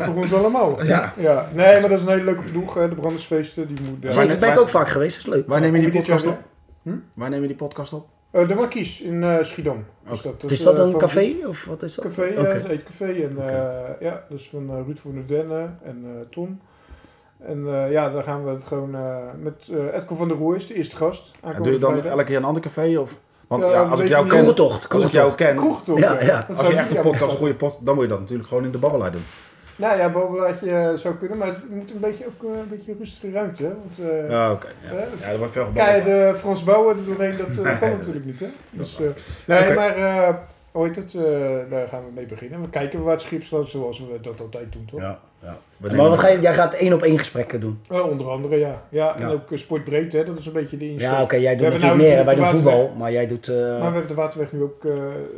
[SPEAKER 3] voor ons allemaal. Ja. Nee, maar dat is een hele leuke ploeg, hè, de Brandersfeesten. Die moet, eh,
[SPEAKER 4] zeker. Daar ben ik ook vaak geweest, dat is leuk.
[SPEAKER 2] Waar neem je
[SPEAKER 3] Kom
[SPEAKER 2] die
[SPEAKER 3] je dit
[SPEAKER 2] podcast
[SPEAKER 3] jaar
[SPEAKER 2] op?
[SPEAKER 3] Hm?
[SPEAKER 2] Waar neem je die podcast op?
[SPEAKER 3] eh, de Marquise in eh, Schiedam. Dus dat,
[SPEAKER 4] Is dat
[SPEAKER 3] eh,
[SPEAKER 4] een
[SPEAKER 3] van-
[SPEAKER 4] café of wat is dat?
[SPEAKER 3] Café, ja,
[SPEAKER 4] Oké.
[SPEAKER 3] het eetcafé. En, eh, ja, dus van eh, Ruud van der Denne en eh Tom. En eh, ja, dan gaan we het gewoon eh, met eh, Edco van der Roer is de eerste gast.
[SPEAKER 2] En doe je dan
[SPEAKER 3] vrijdag.
[SPEAKER 2] elke keer een ander café? Of? Want
[SPEAKER 3] Ja,
[SPEAKER 2] ja, als
[SPEAKER 3] we
[SPEAKER 2] ik
[SPEAKER 3] weten
[SPEAKER 2] jou
[SPEAKER 3] niet.
[SPEAKER 2] ken,
[SPEAKER 4] Kroegentocht,
[SPEAKER 2] als ik jou
[SPEAKER 4] kroegentocht.
[SPEAKER 2] ken,
[SPEAKER 3] Kroeg toch?
[SPEAKER 4] Ja, ja.
[SPEAKER 3] Dat
[SPEAKER 2] als
[SPEAKER 3] zou
[SPEAKER 2] je
[SPEAKER 3] ik
[SPEAKER 2] echt een
[SPEAKER 3] jammer
[SPEAKER 2] podcast,
[SPEAKER 3] vinden.
[SPEAKER 2] goede pot, dan moet je dat natuurlijk gewoon in de babbelaar doen.
[SPEAKER 3] Nou ja, bovenlaatje eh, zou kunnen, maar het moet een beetje, ook eh, een beetje rustige ruimte. hè, Want eh
[SPEAKER 2] Ja, oké. ja.
[SPEAKER 3] Eh,
[SPEAKER 2] Ja, er wordt veel gebabbeld.
[SPEAKER 3] keiharde Frans Bouwen er doorheen, dat eh,
[SPEAKER 2] Nee,
[SPEAKER 3] kan
[SPEAKER 2] dat-
[SPEAKER 3] natuurlijk niet. Hè? Dus,
[SPEAKER 2] waar.
[SPEAKER 3] eh, nee,
[SPEAKER 2] Oké.
[SPEAKER 3] maar eh hoe heet het? eh, daar gaan we mee beginnen. We kijken waar het schip staat, zoals we dat altijd doen, toch?
[SPEAKER 4] Ja, ja.
[SPEAKER 2] We
[SPEAKER 4] Maar
[SPEAKER 2] nemen-
[SPEAKER 4] wat ga je, jij gaat één op één gesprekken doen.
[SPEAKER 3] Eh, onder andere, ja. Ja, en
[SPEAKER 4] Ja.
[SPEAKER 3] ook eh, sportbreed, hè? dat is een beetje de insteek.
[SPEAKER 4] Ja, oké, jij
[SPEAKER 3] We
[SPEAKER 4] doet
[SPEAKER 3] hebben nou
[SPEAKER 4] natuurlijk meer hè, bij
[SPEAKER 3] natuurlijk
[SPEAKER 4] de
[SPEAKER 3] de waterweg.
[SPEAKER 4] voetbal, maar jij doet... eh,
[SPEAKER 3] Maar we hebben de waterweg nu ook eh,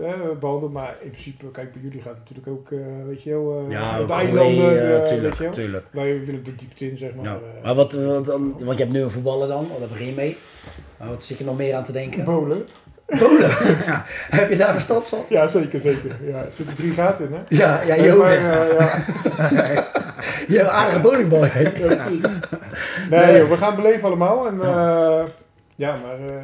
[SPEAKER 3] eh, behandeld. Maar in principe, kijk, bij jullie gaat het natuurlijk ook, eh, weet je wel, eh,
[SPEAKER 4] ja, ook
[SPEAKER 3] de
[SPEAKER 4] Groei,
[SPEAKER 3] eilanden, de-
[SPEAKER 4] eh,
[SPEAKER 3] weet
[SPEAKER 4] tuurlijk,
[SPEAKER 3] je wel.
[SPEAKER 4] tuurlijk.
[SPEAKER 3] Wij willen de diepte in, zeg maar.
[SPEAKER 4] Ja.
[SPEAKER 3] eh,
[SPEAKER 4] Maar wat, wat dan, want je hebt nu een voetballer dan, want daar begin je mee. Maar wat zit je nog meer aan te denken?
[SPEAKER 3] Bolen.
[SPEAKER 4] Polen. Ja. Heb je daar verstand van?
[SPEAKER 3] Ja, zeker, zeker. Ja, er zitten drie gaten in, hè?
[SPEAKER 4] Ja, ja je,
[SPEAKER 3] Nee, maar,
[SPEAKER 4] hoeft-
[SPEAKER 3] eh, ja.
[SPEAKER 4] je hebt een aardige bowlingbal. hè?
[SPEAKER 3] Ja, precies. Nee, joh, we gaan beleven allemaal. En, eh, ja, maar eh,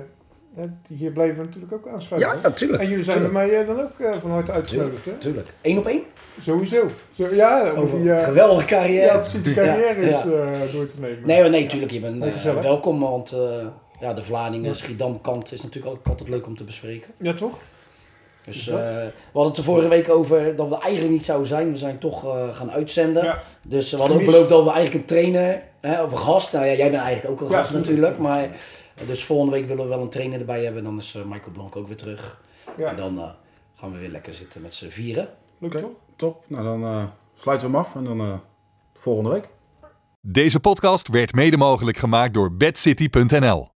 [SPEAKER 3] het- hier blijven we natuurlijk ook aanschuiven.
[SPEAKER 4] Ja,
[SPEAKER 3] hè?
[SPEAKER 4] natuurlijk.
[SPEAKER 3] En jullie zijn er
[SPEAKER 4] tuurlijk.
[SPEAKER 3] mij eh, dan ook eh, van harte uitgenodigd, hè?
[SPEAKER 4] Tuurlijk. Eén op één?
[SPEAKER 3] Sowieso. Zo, ja, om
[SPEAKER 4] Over
[SPEAKER 3] die, eh,
[SPEAKER 4] geweldige carrière.
[SPEAKER 3] ja, precies, de carrière
[SPEAKER 4] Ja,
[SPEAKER 3] is
[SPEAKER 4] ja.
[SPEAKER 3] eh, door te nemen.
[SPEAKER 4] Nee, hoor, nee, tuurlijk. Je bent eh,
[SPEAKER 3] Gezellig.
[SPEAKER 4] welkom, want eh, ja, de Vlaardingen, Schiedam kant is natuurlijk ook altijd leuk om te bespreken.
[SPEAKER 3] Ja, toch?
[SPEAKER 4] Dus
[SPEAKER 3] Is dat?
[SPEAKER 4] eh, we hadden het de vorige week over dat we er eigenlijk niet zouden zijn. We zijn toch eh, gaan uitzenden.
[SPEAKER 3] Ja.
[SPEAKER 4] Dus we hadden ook
[SPEAKER 3] Gemist.
[SPEAKER 4] beloofd dat we eigenlijk een trainer hè, of een gast. Nou ja, jij bent eigenlijk ook een
[SPEAKER 3] Ja,
[SPEAKER 4] gast
[SPEAKER 3] tuurlijk.
[SPEAKER 4] natuurlijk. Maar, eh, dus volgende week willen we wel een trainer erbij hebben. Dan is eh, Michael Blanc ook weer terug.
[SPEAKER 3] Ja.
[SPEAKER 4] En dan eh, gaan we weer lekker zitten met z'n vieren.
[SPEAKER 3] Leuk,
[SPEAKER 2] Oké.
[SPEAKER 3] toch?
[SPEAKER 2] Top. Nou, dan eh, sluiten we hem af en dan eh, volgende week.
[SPEAKER 1] Deze podcast werd mede mogelijk gemaakt door bedcity.nl.